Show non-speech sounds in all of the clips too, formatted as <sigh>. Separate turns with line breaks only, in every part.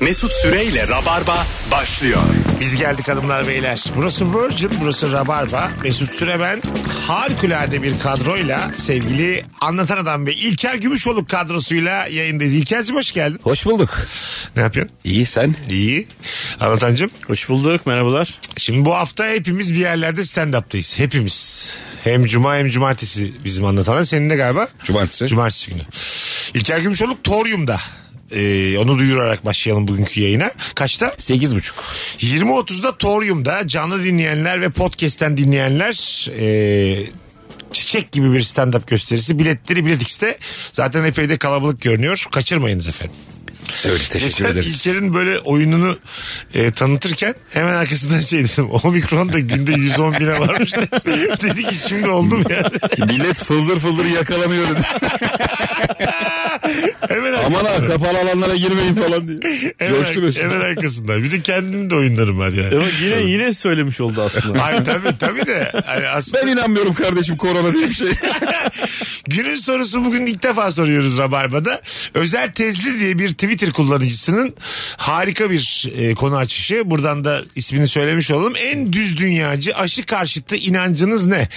Mesut Süreyle Rabarba başlıyor.
Biz geldik hanımlar beyler. Burası Virgin, burası Rabarba. Mesut Süremen harikulade bir kadroyla sevgili Anlatan Adam ve İlker Gümüşoluk kadrosuyla yayındayız. İlker'cim hoş geldin.
Hoş bulduk.
Ne yapıyorsun?
İyi sen?
İyi. Anlatancım.
Hoş bulduk merhabalar.
Şimdi bu hafta hepimiz bir yerlerde stand-up'tayız. Hepimiz. Hem cuma hem cumartesi bizim anlatan. Senin de galiba?
Cumartesi.
Cumartesi günü. İlker Gümüşoluk Torium'da. Ee, onu duyurarak başlayalım bugünkü yayına. Kaçta?
Sekiz buçuk.
20.30'da Torium'da canlı dinleyenler ve podcast'ten dinleyenler e, çiçek gibi bir stand-up gösterisi. Biletleri Bilet X'te. Zaten epey de kalabalık görünüyor. Kaçırmayınız efendim.
Öyle teşekkür
<laughs>
Geçen
ederiz.
İlker'in böyle oyununu e, tanıtırken hemen arkasından şey dedim. Omikron da günde 110 bine varmış. <laughs> Dedi ki şimdi oldum yani.
Millet fıldır fıldır yakalanıyor dedi.
Hemen
Aman ha kapalı alanlara girmeyin falan diye.
Hemen,
Coştu Mesut.
hemen arkasından. Bir de kendimin de oyunlarım var yani.
Ama yine yine söylemiş oldu aslında.
Ay tabii tabii de. Hani aslında...
<laughs> Ben inanmıyorum kardeşim korona diye bir
<laughs>
şey.
Günün sorusu bugün ilk defa soruyoruz Rabarba'da. Özel Tezli diye bir Twitter kullanıcısının harika bir e, konu açışı. Buradan da ismini söylemiş olalım. En düz dünyacı aşı karşıtı inancınız ne?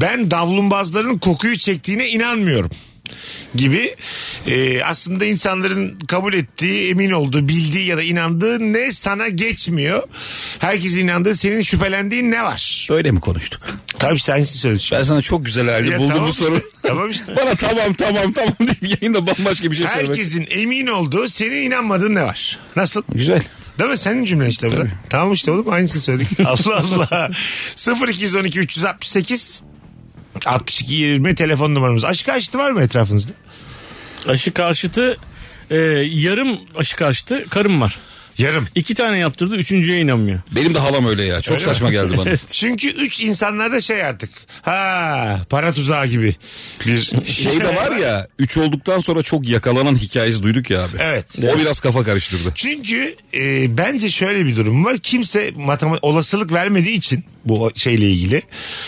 Ben davlumbazların kokuyu çektiğine inanmıyorum gibi e, aslında insanların kabul ettiği, emin olduğu, bildiği ya da inandığı ne sana geçmiyor. Herkesin inandığı, senin şüphelendiğin ne var?
Böyle mi konuştuk?
Tabii sensin söyledin.
Ben sana çok güzel hali
Ya
buldum
tamam
bu soru.
işte, tamam işte.
Bana tamam tamam tamam deyip yayında bambaşka bir şey söylemek.
Herkesin emin olduğu senin inanmadığın ne var? Nasıl?
Güzel.
Değil mi? Senin cümlen işte bu da. Tamam işte oğlum aynısını söyledik. Allah Allah. 0212 368 62 20 telefon numaramız. Aşk aşkı var mı etrafınızda?
aşı karşıtı e, yarım aşı karşıtı karım var.
Yarım.
İki tane yaptırdı üçüncüye inanmıyor.
Benim de halam öyle ya. Çok saçma geldi bana.
Çünkü 3 insanlarda şey artık. Ha para tuzağı gibi. Bir
Şey de var ya 3 olduktan sonra çok yakalanan hikayesi duyduk ya abi.
Evet.
O biraz kafa karıştırdı.
Çünkü e, bence şöyle bir durum var. Kimse matema- olasılık vermediği için bu şeyle ilgili,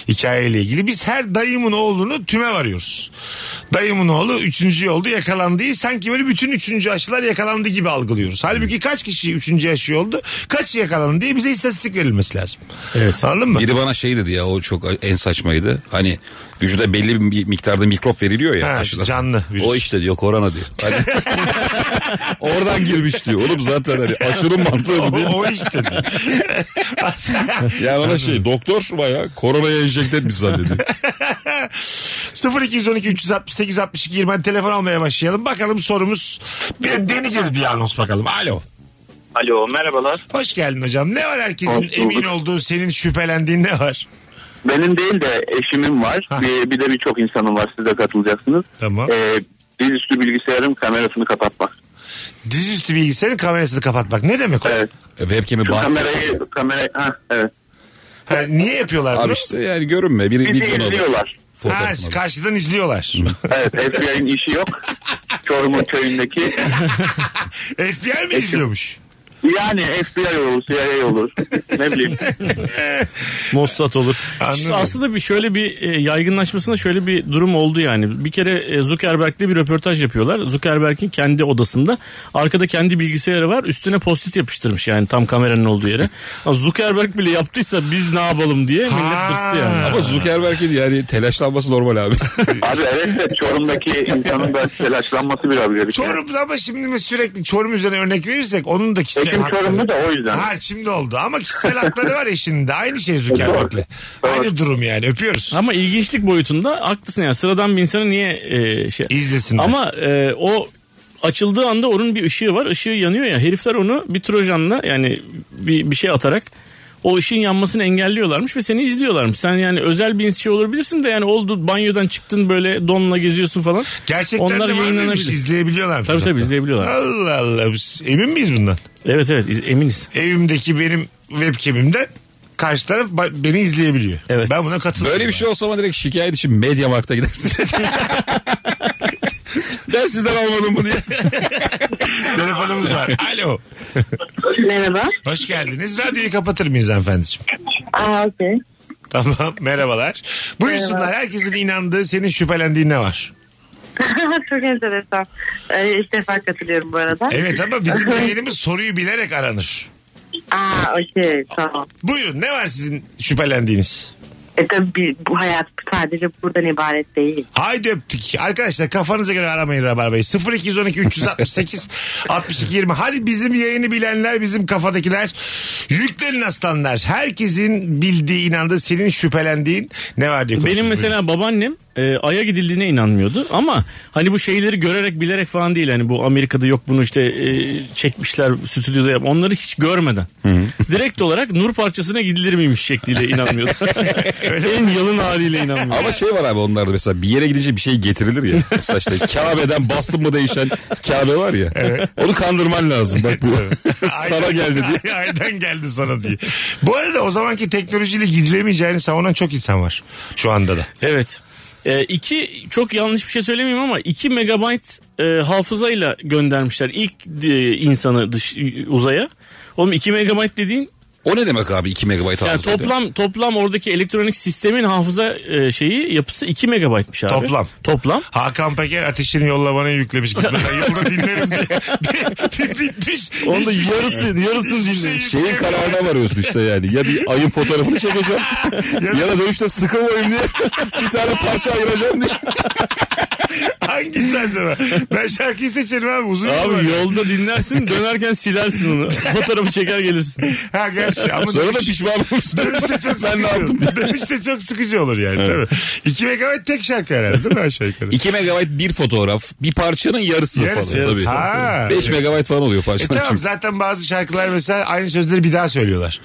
hikayeyle ilgili biz her dayımın oğlunu tüme varıyoruz. Dayımın oğlu üçüncü oldu yakalandığı sanki böyle bütün üçüncü aşılar yakalandı gibi algılıyoruz. Halbuki kaç kişi üçüncü aşı oldu, kaç yakalandı diye bize istatistik verilmesi lazım. Evet. Anladın mı?
Biri bana şey dedi ya o çok en saçmaydı. Hani vücuda belli bir miktarda mikrop veriliyor ya
Ha,
aşıdan.
canlı virüs.
O işte diyor korona diyor. Hani-
<laughs>
Oradan girmiş diyor. Oğlum zaten hani aşırı mantığı
O,
bu değil mi?
o işte. <laughs>
Yani ona şey doktor baya koronaya enjekte etmiş zannediyor.
0212 368 62 20 telefon almaya başlayalım. Bakalım sorumuz. Bir de deneyeceğiz bir anons bakalım. Alo.
Alo merhabalar.
Hoş geldin hocam. Ne var herkesin
Hoş bulduk.
emin olduğu, senin şüphelendiğin ne var?
Benim değil de eşimin var.
Ha.
Bir, bir de birçok insanın var siz de katılacaksınız.
Tamam.
Ee, dizüstü bilgisayarın kamerasını kapatmak.
Dizüstü bilgisayarın kamerasını kapatmak. Ne demek o?
Evet.
E, Webcam'i
Şu
bağlı.
kamerayı, kamerayı, ha, evet.
Ha, niye yapıyorlar bunu?
Abi işte yani görünme. Biri
Bizi
videonu alıyor.
izliyorlar.
ha,
Fotoğrafını alıyor.
karşıdan izliyorlar. <laughs>
Evet FBI'nin işi yok. Çorum'un köyündeki.
FBI mi izliyormuş?
Yani FBI olur, CIA olur.
<laughs>
Ne bileyim.
Mossad olur.
Anladım.
Aslında bir şöyle bir e, yaygınlaşmasına şöyle bir durum oldu yani. Bir kere e, Zuckerberg'le bir röportaj yapıyorlar. Zuckerberg'in kendi odasında arkada kendi bilgisayarı var. Üstüne postit yapıştırmış yani tam kameranın olduğu yere. Ama Zuckerberg bile yaptıysa biz ne yapalım diye millet
Ha.
tırstı yani.
Ama Zuckerberg'in yani telaşlanması normal
<laughs>
abi.
Abi evet de Çorum'daki insanın da telaşlanması biraz garip.
Çorum'da ama şimdi mi sürekli Çorum üzerine örnek verirsek onun da kişisel
Eşim
hakları.
Çorumlu da o yüzden.
Ha şimdi oldu ama kişisel hakları var eşinin de. Aynı şey Zuckerberg'le.
Doğru.
Aynı durum yani öpüyoruz.
Ama ilginçlik boyutunda haklısın yani sıradan bir insanı niye e, şey...
İzlesinler.
Ama e, o açıldığı anda onun bir ışığı var. Işığı yanıyor ya herifler onu bir trojanla yani bir, bir şey atarak o ışığın yanmasını engelliyorlarmış ve seni izliyorlarmış. Sen yani özel bir şey olabilirsin de yani oldu banyodan çıktın böyle donla geziyorsun falan.
Gerçekten
Onlar
de var mıymış?
yayınlanabilir.
İzleyebiliyorlar mı?
Tabii tabii izleyebiliyorlar.
Allah Allah. Biz- Emin miyiz bundan?
Evet evet iz- eminiz.
evimdeki benim webcam'imden karşı taraf ba- beni izleyebiliyor.
Evet.
Ben
şey
buna katılıyorum. <laughs>
Böyle bir şey olsa ama direkt şikayet için Mediamarkt'a gidersin. Ben sizden almadım bunu ya.
Telefonumuz var. Alo.
Merhaba.
Hoş geldiniz. Radyoyu kapatır mıyız
<laughs>
hanımefendiciğim?
Aa, okey. <laughs>
Tamam. Merhabalar. Buyursunlar.
Merhaba.
Herkesin inandığı, senin şüphelendiğin ne var?
Çok enteresan. Ee, ilk defa katılıyorum bu arada.
Evet ama
<laughs>
bizim yayınımız soruyu bilerek aranır.
Aa okey tamam.
Buyurun ne var sizin şüphelendiğiniz?
E tabii bir- bu hayat sadece buradan ibaret değil.
Haydi öptük. Arkadaşlar kafanıza göre aramayın Rabarba'yı. 0212 368 62 20. Hadi bizim yayını bilenler, bizim kafadakiler. Yüklenin aslanlar. Herkesin bildiği, inandığı, senin şüphelendiğin ne var diye
Benim
konuşuyoruz.
mesela babaannem e, Ay'a gidildiğine inanmıyordu ama hani bu şeyleri görerek bilerek falan değil hani bu Amerika'da yok bunu işte e, çekmişler stüdyoda yap onları hiç görmeden direkt olarak nur parçasına gidilir miymiş şekliyle inanmıyordu. en yalın haliyle inanmıyordu.
Ama şey var abi onlarda mesela bir yere gidince bir şey getirilir <laughs> ya. Mesela işte Kabe'den bastın mı değişen Kabe var ya. Onu kandırman lazım. Bak bu <laughs>
<laughs>
sana
Aynen.
geldi
<laughs>
diye.
Aynen geldi sana diye. Bu arada o zamanki teknolojiyle gidilemeyeceğini savunan çok insan var. Şu anda da.
Evet. E, iki çok yanlış bir şey söylemeyeyim ama 2 megabayt e, hafızayla göndermişler ilk e, insanı dış e, uzaya. Oğlum 2 megabayt dediğin
O ne demek abi 2 megabayt
yani
hafıza?
toplam toplam oradaki elektronik sistemin hafıza e, şeyi yapısı 2 megabaytmış abi.
Toplam.
Toplam.
Hakan Peker ateşini yolla bana
<laughs>
yüklemiş. Gitmeden yolda dinlerim diye. <laughs> Bitmiş.
Onda
Hiçbir şey-
yarısı- yarısını
hiçbir
dinlemiş.
şey
Şeyin
yükleyemem.
kararına varıyorsun işte yani. Ya bir ayın fotoğrafını çekeceğim <laughs> ya da dönüşte sıkılmayayım diye bir tane parça ayıracağım diye.
Hangisi acaba? Ben şarkıyı seçerim abi. Uzun yol şey var.
Abi yolda dinlersin dönerken silersin onu. Fotoğrafı çeker gelirsin.
Ha gerçi ama
Sonra da
dönüş-
pişman olursun.
Dönüşte çok
ben ne yaptım?
sıkıcı. Dönüşte çok sıkıcı olur yani değil mi? 2 megabayt tek şarkı herhalde değil mi aşağı yukarı?
2 megabayt bir fotoğraf, bir parçanın yarısı,
Yarısı,
falan
yarısı. Ha.
tabii. 5 megabayt falan oluyor
E
parçanın.
tamam zaten bazı şarkılar mesela aynı sözleri bir daha
<laughs>
söylüyorlar.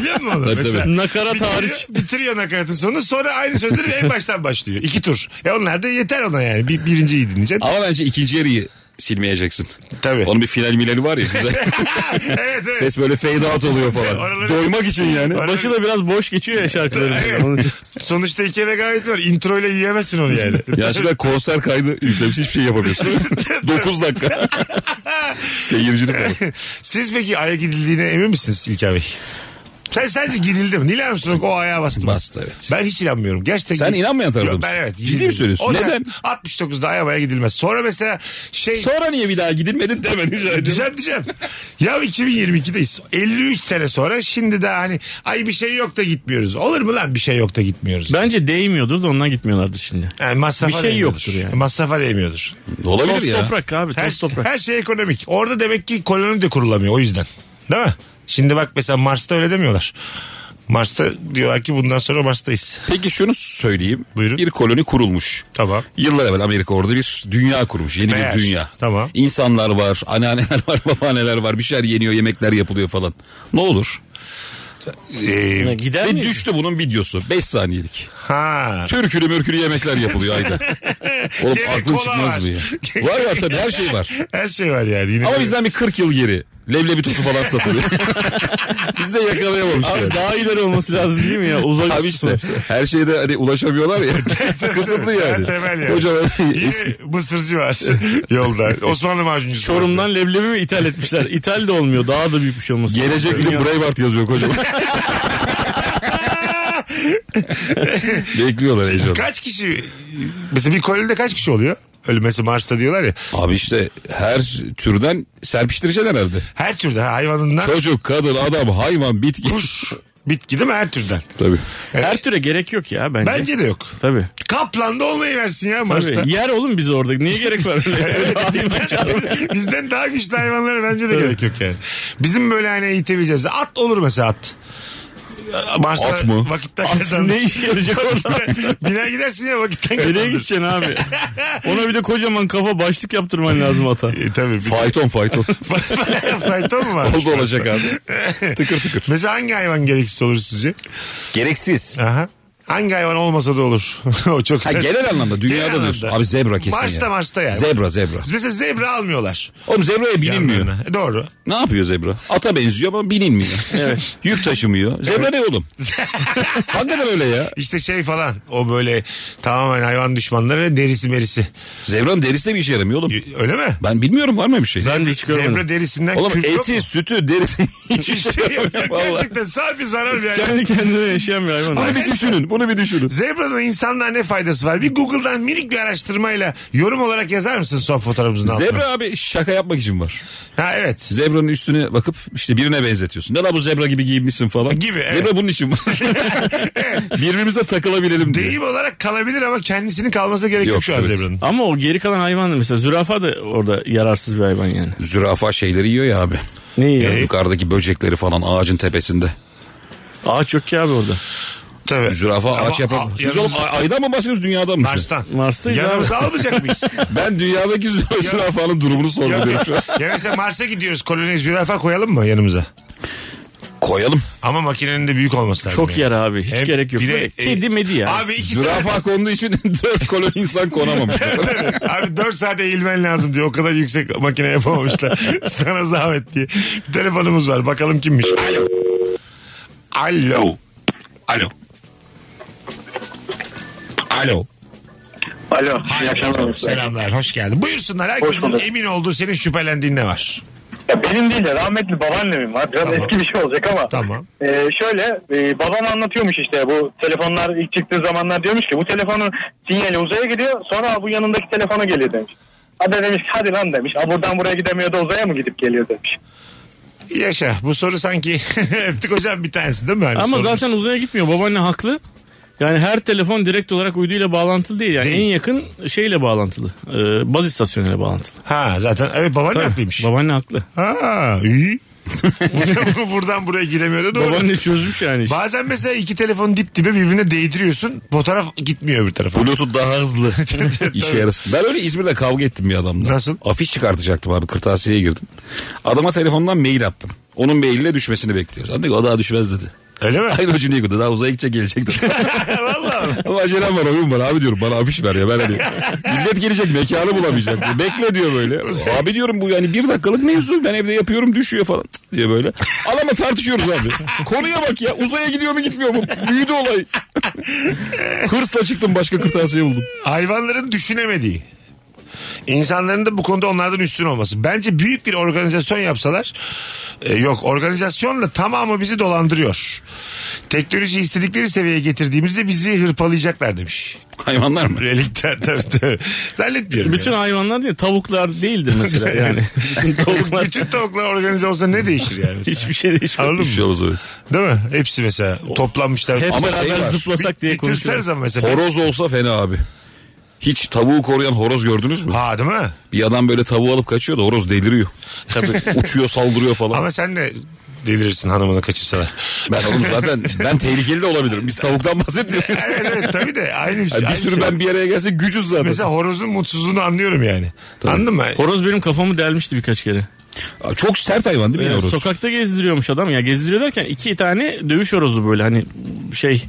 Biliyor musun onu?
Tabii,
mesela,
tabii.
Nakarat
bitiriyor-
hariç.
Bitiriyor nakaratın sonu sonra aynı sözleri en baştan başlıyor. İki tur. E onlar da yeter ona yani. Bir, birinciyi dinleyeceksin.
Ama bence ikinci yarıyı silmeyeceksin.
Tabii.
Onun bir final mileri var ya <laughs> güzel.
<laughs> evet evet.
Ses böyle fade out oluyor falan.
Oraları-
Doymak için yani.
Oraları-
Başı da biraz boş geçiyor ya şarkıların.
Evet.
Onun için.
<laughs> Sonuçta iki megabayt var. İntro ile yiyemezsin onu yani.
<laughs> Ya şimdi konser kaydı yüklemiş hiçbir şey yapamıyorsun. 9 dakika.
<laughs>
Seyircilik var.
<laughs> Siz peki aya gidildiğine emin misiniz İlker Bey? Sen sadece gidildi mi? Neil Armstrong o ayağa bastı mı?
Bastı evet.
Ben hiç inanmıyorum. Gerçekten.
Sen inanmayan tarafta
Yok,
mısın?
ben evet.
Ciddi
gidildim.
mi söylüyorsun?
O yüzden
Neden?
69'da ayamaya gidilmez. Sonra mesela şey...
Sonra niye bir daha gidilmedin deme rica ediyorum.
Diyeceğim diyeceğim. Ya 2022'deyiz. 53 sene sonra şimdi de hani ay bir şey yok da gitmiyoruz. Olur mu lan bir şey yok da gitmiyoruz?
Bence değmiyordur da ondan gitmiyorlardır şimdi.
Yani masrafa
Bir şey
değmiyordur.
yoktur yani.
Masrafa değmiyordur.
Olabilir
Toz
ya.
toprak abi
Her,
toz toprak.
her şey ekonomik. Orada demek ki koloni de kurulamıyor o yüzden. Değil mi? Şimdi bak mesela Mars'ta öyle demiyorlar. Mars'ta diyorlar ki bundan sonra Mars'tayız.
Peki şunu söyleyeyim.
Buyurun.
Bir koloni kurulmuş.
Tamam.
Yıllar evvel Amerika orada bir dünya kurmuş. Yeni
Meğer.
bir dünya.
Tamam.
İnsanlar var, anneanneler var, <laughs> babaanneler var. Bir şeyler yeniyor, yemekler yapılıyor falan. Ne olur?
Ee,
Yani Gider
Ve
miyiz?
düştü bunun videosu. 5 saniyelik.
ha.
Türkülü mürkülü yemekler yapılıyor ayda.
<laughs>
Oğlum
Gene
aklın
kola
çıkmaz
var.
mı ya? Var ya tabii her
<laughs>
şey var.
Her şey var yani. Yine
Ama
böyle.
bizden bir 40 yıl geri. Leblebi tozu
<laughs>
falan satılıyor. Biz de yakalayamamış
Abi
yani.
daha ileri olması lazım değil mi ya? Uzak
Şey. Abi işte her şeyde hani
<laughs>
ulaşamıyorlar ya. Kısıtlı yani.
Temel yani.
Kocaman <laughs>
Yine mısırcı var <laughs> yolda. Osmanlı macuncusu. var.
Çorum'dan leblebi mi ithal etmişler? İthal de olmuyor. Daha da büyük bir şey olması. lazım.
Gelecek film
Dünya-
Braveheart
<laughs>
yazıyor kocaman. Bekliyorlar heyecan.
Ee, Kaç kişi mesela bir kolonide kaç kişi oluyor? Öyle mesela Mars'ta diyorlar ya.
Abi işte her türden serpiştireceksin herhalde.
Her türden ha, hayvanından
Çocuk, kadın, adam, hayvan, bitki.
kuş bitki değil mi her türden?
Tabii.
Her türe gerek yok ya bence.
Bence de yok.
Tabii.
Kaplan'da olmayı versin ya Mars'ta.
Tabii. Yer oğlum biz orada. Niye gerek var? öyle?
<laughs>
Öyle hayvan canlı.
Bizden daha güçlü hayvanlara bence de gerek yok yani. Bizim böyle hani eğitebileceğimiz. At olur mesela at. Mars'ta
At mı?
Vakitten
At
kazandı.
ne işe yarayacak
<laughs>
orada?
Biner gidersin ya vakitten
Nereye
kazandı.
gideceksin abi? Ona bir de kocaman kafa başlık yaptırman lazım
<laughs>
ata.
E, tabii. Bir-
Fayton fayton.
<laughs> Fayton mu var?
Oldu
<laughs>
olacak abi. Tıkır tıkır.
Mesela hangi hayvan gereksiz olur sizce?
Gereksiz.
Aha. Hangi hayvan olmasa da olur. <laughs> o çok
Ha, genel anlamda dünyada
Genel
diyorsun.
anlamda.
Abi zebra kesin
Mars'ta
ya.
Mars'ta yani.
Zebra zebra.
Mesela zebra almıyorlar.
Oğlum zebraya binilmiyor.
yanlarına. E, Doğru.
Ne yapıyor zebra? Ata benziyor ama binilmiyor. evet. Yük taşımıyor. Zebra ne oğlum? Hakikaten öyle ya.
İşte şey falan o böyle tamamen hayvan düşmanları derisi merisi.
Zebranın derisi de bir işe yaramıyor oğlum.
Y- Öyle mi?
Ben bilmiyorum var mı bir şey?
Ben de hiç görmedim.
Zebra derisinden
Oğlum
kürk yok
eti,
<laughs> mu?
sütü, derisi <laughs> hiçbir şey
Şey yok.
yaramıyor. <laughs> Vallahi.
Gerçekten sadece zarar bir hayvan.
Kendi kendine yaşayan bir hayvan.
Bunu bir düşünün. Bunu bir düşünün.
Zebranın insanlığa ne faydası var? Bir Google'dan minik bir araştırmayla yorum olarak yazar mısın son fotoğrafımızın altına?
Zebra abi şaka yapmak için var.
Ha evet.
Zebra'nın üstüne bakıp işte birine benzetiyorsun. Ne la bu zebra gibi giyinmişsin falan.
E, Gibi, evet.
Zebra
<laughs>
bunun için var. <laughs> Birbirimize takılabilelim diye.
Deyim olarak kalabilir ama kendisinin kalmasına gerek yok,
Yok,
şu an
evet.
zebranın.
Ama o geri kalan hayvan da mesela zürafa da orada yararsız bir hayvan yani.
Zürafa şeyleri yiyor ya abi.
Ne
E?
yiyor?
Yukarıdaki böcekleri falan ağacın tepesinde.
Ağaç yok ki abi orada.
Tabii.
Zürafa
Ama
ağaç yapar.
a-
Biz oğlum
yanımızda-
a- aydan mı bahsediyoruz dünyadan mı?
Mars'tan.
Mars'ta ya.
Yanımıza almayacak mıyız?
<laughs> Ben dünyadaki zü- zürafanın durumunu sorguluyorum şu an.
ya mesela Mars'a gidiyoruz koloniye zürafa koyalım mı yanımıza?
Koyalım.
Ama makinenin de büyük olması lazım.
Çok yer abi. Hiç
Hem
gerek yok.
e, bir de- e,
Böyle kedi medi ya.
Abi iki saat...
Zürafa konduğu için <laughs> dört kolon insan konamamış.
<laughs> Abi 4 saat eğilmen lazım diyor. O kadar yüksek makine yapamamışlar. Sana zahmet diye. Bir telefonumuz var. Bakalım kimmiş. Alo. Alo. Alo.
Alo.
Alo. iyi akşamlar.
Selamlar. Hoş geldin. Buyursunlar.
Hoş
Herkesin
bulduk.
emin olduğu senin şüphelendiğin ne var?
Ya benim değil de rahmetli babaannemin var. Biraz
Tamam.
eski bir şey olacak ama.
Tamam.
Ee, şöyle e, babam anlatıyormuş işte bu telefonlar ilk çıktığı zamanlar diyormuş ki bu telefonun sinyali uzaya gidiyor sonra bu yanındaki telefona geliyor demiş. Hadi demiş hadi lan demiş. Ha buradan buraya gidemiyor da uzaya mı gidip geliyor demiş.
Yaşa. Bu soru sanki <laughs> öptük hocam bir tanesi değil mi? Hani
Ama
sorumuz.
zaten uzaya gitmiyor. Babaanne haklı. Yani her telefon direkt olarak uyduyla bağlantılı değil. Yani
Değil.
en yakın şeyle bağlantılı. Ee, baz istasyonuyla bağlantılı.
Ha zaten. Evet baban haklıymış.
Babaanne haklı.
Ha iyi. buradan, buradan buraya giremiyordu doğru.
Babaanne çözmüş yani. işi.
Bazen mesela iki telefon dip dibe birbirine değdiriyorsun. Fotoğraf gitmiyor bir tarafa.
Bluetooth daha hızlı. İşe yarasın. Ben öyle İzmir'de kavga ettim bir adamla.
Nasıl?
Afiş çıkartacaktım abi kırtasiyeye girdim. Adama telefondan mail attım. Onun mailine düşmesini bekliyoruz. Adam dedi ki, o daha düşmez dedi.
Öyle mi?
Aynı o cümleyi kurdu. Daha uzaya gidecek gelecek dedi.
Valla mı?
Ama acelem var oyun var abi diyorum bana afiş ver ya ben hani millet gelecek mekanı bulamayacak diyor. bekle diyor böyle abi diyorum bu yani bir dakikalık mevzu ben evde yapıyorum düşüyor falan Cık diye böyle adamla tartışıyoruz abi konuya bak ya uzaya gidiyor mu gitmiyor mu büyüdü olay hırsla çıktım başka kırtasiye buldum
Hayvanların düşünemediği. İnsanların da bu konuda onlardan üstün olması. Bence büyük bir organizasyon yapsalar e, yok organizasyonla tamamı bizi dolandırıyor. Teknoloji istedikleri seviyeye getirdiğimizde bizi hırpalayacaklar demiş.
hayvanlar mı?
Relikten tabii tabii. Zannetmiyorum.
Bütün
yani.
hayvanlar değil. Tavuklar değildir mesela yani. Bütün tavuklar
Bütün tavuklar organize olsa ne değişir yani? mesela?
hiçbir şey değişmiyor.
Anladın mı?
Düşüyor evet.
Değil mi? Hepsi mesela toplanmışlar.
Hep
Ama şey
beraber
var.
zıplasak diye konuşuyoruz.
Bitirseniz ama mesela.
Horoz olsa fena abi. Hiç tavuğu koruyan horoz gördünüz mü?
Ha değil mi?
Bir adam böyle tavuğu alıp kaçıyor da horoz deliriyor. Tabii. Uçuyor saldırıyor falan.
Ama sen de delirirsin hanımını kaçırsalar.
Ben oğlum zaten ben tehlikeli de olabilirim. Biz tavuktan bahsetmiyoruz.
<laughs> evet evet tabii de aynı bir şey.
Yani bir
aynı
sürü
şey.
ben bir araya gelse gücüz zaten.
Mesela horozun mutsuzluğunu anlıyorum yani. Anladın mı?
Horoz benim kafamı delmişti birkaç kere.
Aa, Çok sert hayvan değil mi
Ee,
horoz?
Sokakta gezdiriyormuş adam. Ya gezdiriyor derken iki tane dövüş horozu böyle hani şey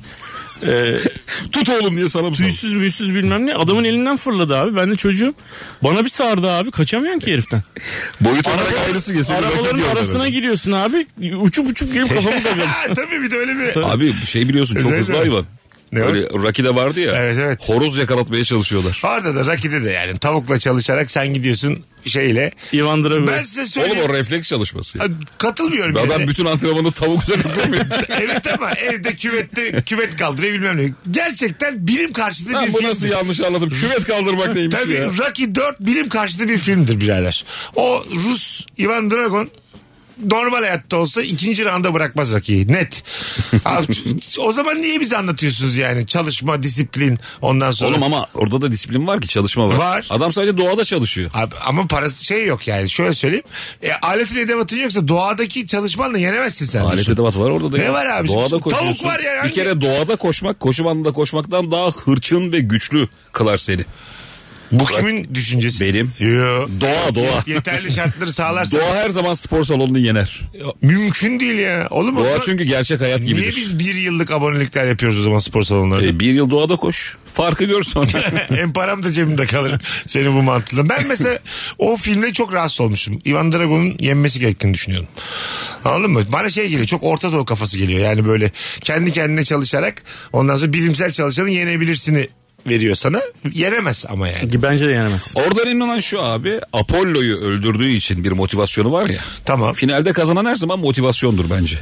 e,
<laughs> Tut oğlum diye sana mı saldırıyor?
tüysüz müysüz bilmem ne. Adamın elinden fırladı abi. Ben de çocuğum. Bana bir sardı abi. Kaçamıyorsun ki heriften.
Boyut olarak ayrısı geçiyor.
Arabaların arasına giriyorsun abi. Uçup uçup gelip
<laughs>
kafamı kırıyor.
Ha, tabii bir de öyle bir...
Abi şey biliyorsun çok
Özellikle-
hızlı hayvan.
Ne o?
Öyle Rocky'de vardı ya.
Evet, evet.
Horoz yakalatmaya çalışıyorlar.
Orada da rakide de yani tavukla çalışarak sen gidiyorsun şeyle.
Ivandıra böyle.
Ben size
Oğlum
söyleyeyim.
o refleks çalışması. ya.
Ha, Katılmıyorum. yine de.
Adam bütün antrenmanı tavuk üzerine
<laughs>
kurmuyor.
evet ama evde küvette küvet kaldırıyor bilmem ne. Gerçekten bilim karşıtı
Lan
bir
bu
film.
nasıl yanlış anladım? Küvet kaldırmak neymiş
Tabii
ya?
Rocky 4 bilim karşıtı bir filmdir birader. O Rus Ivan Dragon normal hayatta olsa ikinci randa bırakmaz Rocky'yi.
<laughs>
Net. Abi, o zaman niye bize anlatıyorsunuz yani? Çalışma, disiplin ondan sonra.
Oğlum ama orada da disiplin var ki çalışma var.
Var.
Adam sadece doğada çalışıyor.
Abi, ama para şey yok yani. Şöyle söyleyeyim. E, aletin edevatın yoksa doğadaki çalışmanla yenemezsin sen.
Alet edevat var orada da.
Ne
ya.
var abicim?
Doğada
Tavuk
koşuyorsun.
var ya, hangi-
Bir kere doğada koşmak koşu bandında koşmaktan daha hırçın ve güçlü kılar seni.
Bu kimin düşüncesi?
Benim.
Yo.
Doğa doğa.
Yeterli
<laughs>
şartları sağlarsa
Doğa her zaman spor salonunu yener.
mümkün değil ya. Oğlum o
Doğa
zaman
çünkü gerçek hayat
niye
gibidir.
biz bir yıllık abonelikler yapıyoruz o zaman spor salonlarında?
E, bir yıl doğada koş. Farkı gör sonra.
<laughs> Hem param da cebimde kalır senin bu mantığından. Ben mesela o filmde çok rahatsız olmuşum. Ivan Drago'nun yenmesi gerektiğini düşünüyorum. Anladın mı? Bana şey geliyor çok Orta Doğu kafası geliyor. Yani böyle kendi kendine çalışarak ondan sonra bilimsel çalışanın yenebilirsini veriyor sana. Yenemez ama yani.
Ki Bence de yenemez.
Orada önemli olan şu abi. Apollo'yu öldürdüğü için bir motivasyonu var ya.
Tamam.
Finalde kazanan her zaman motivasyondur bence.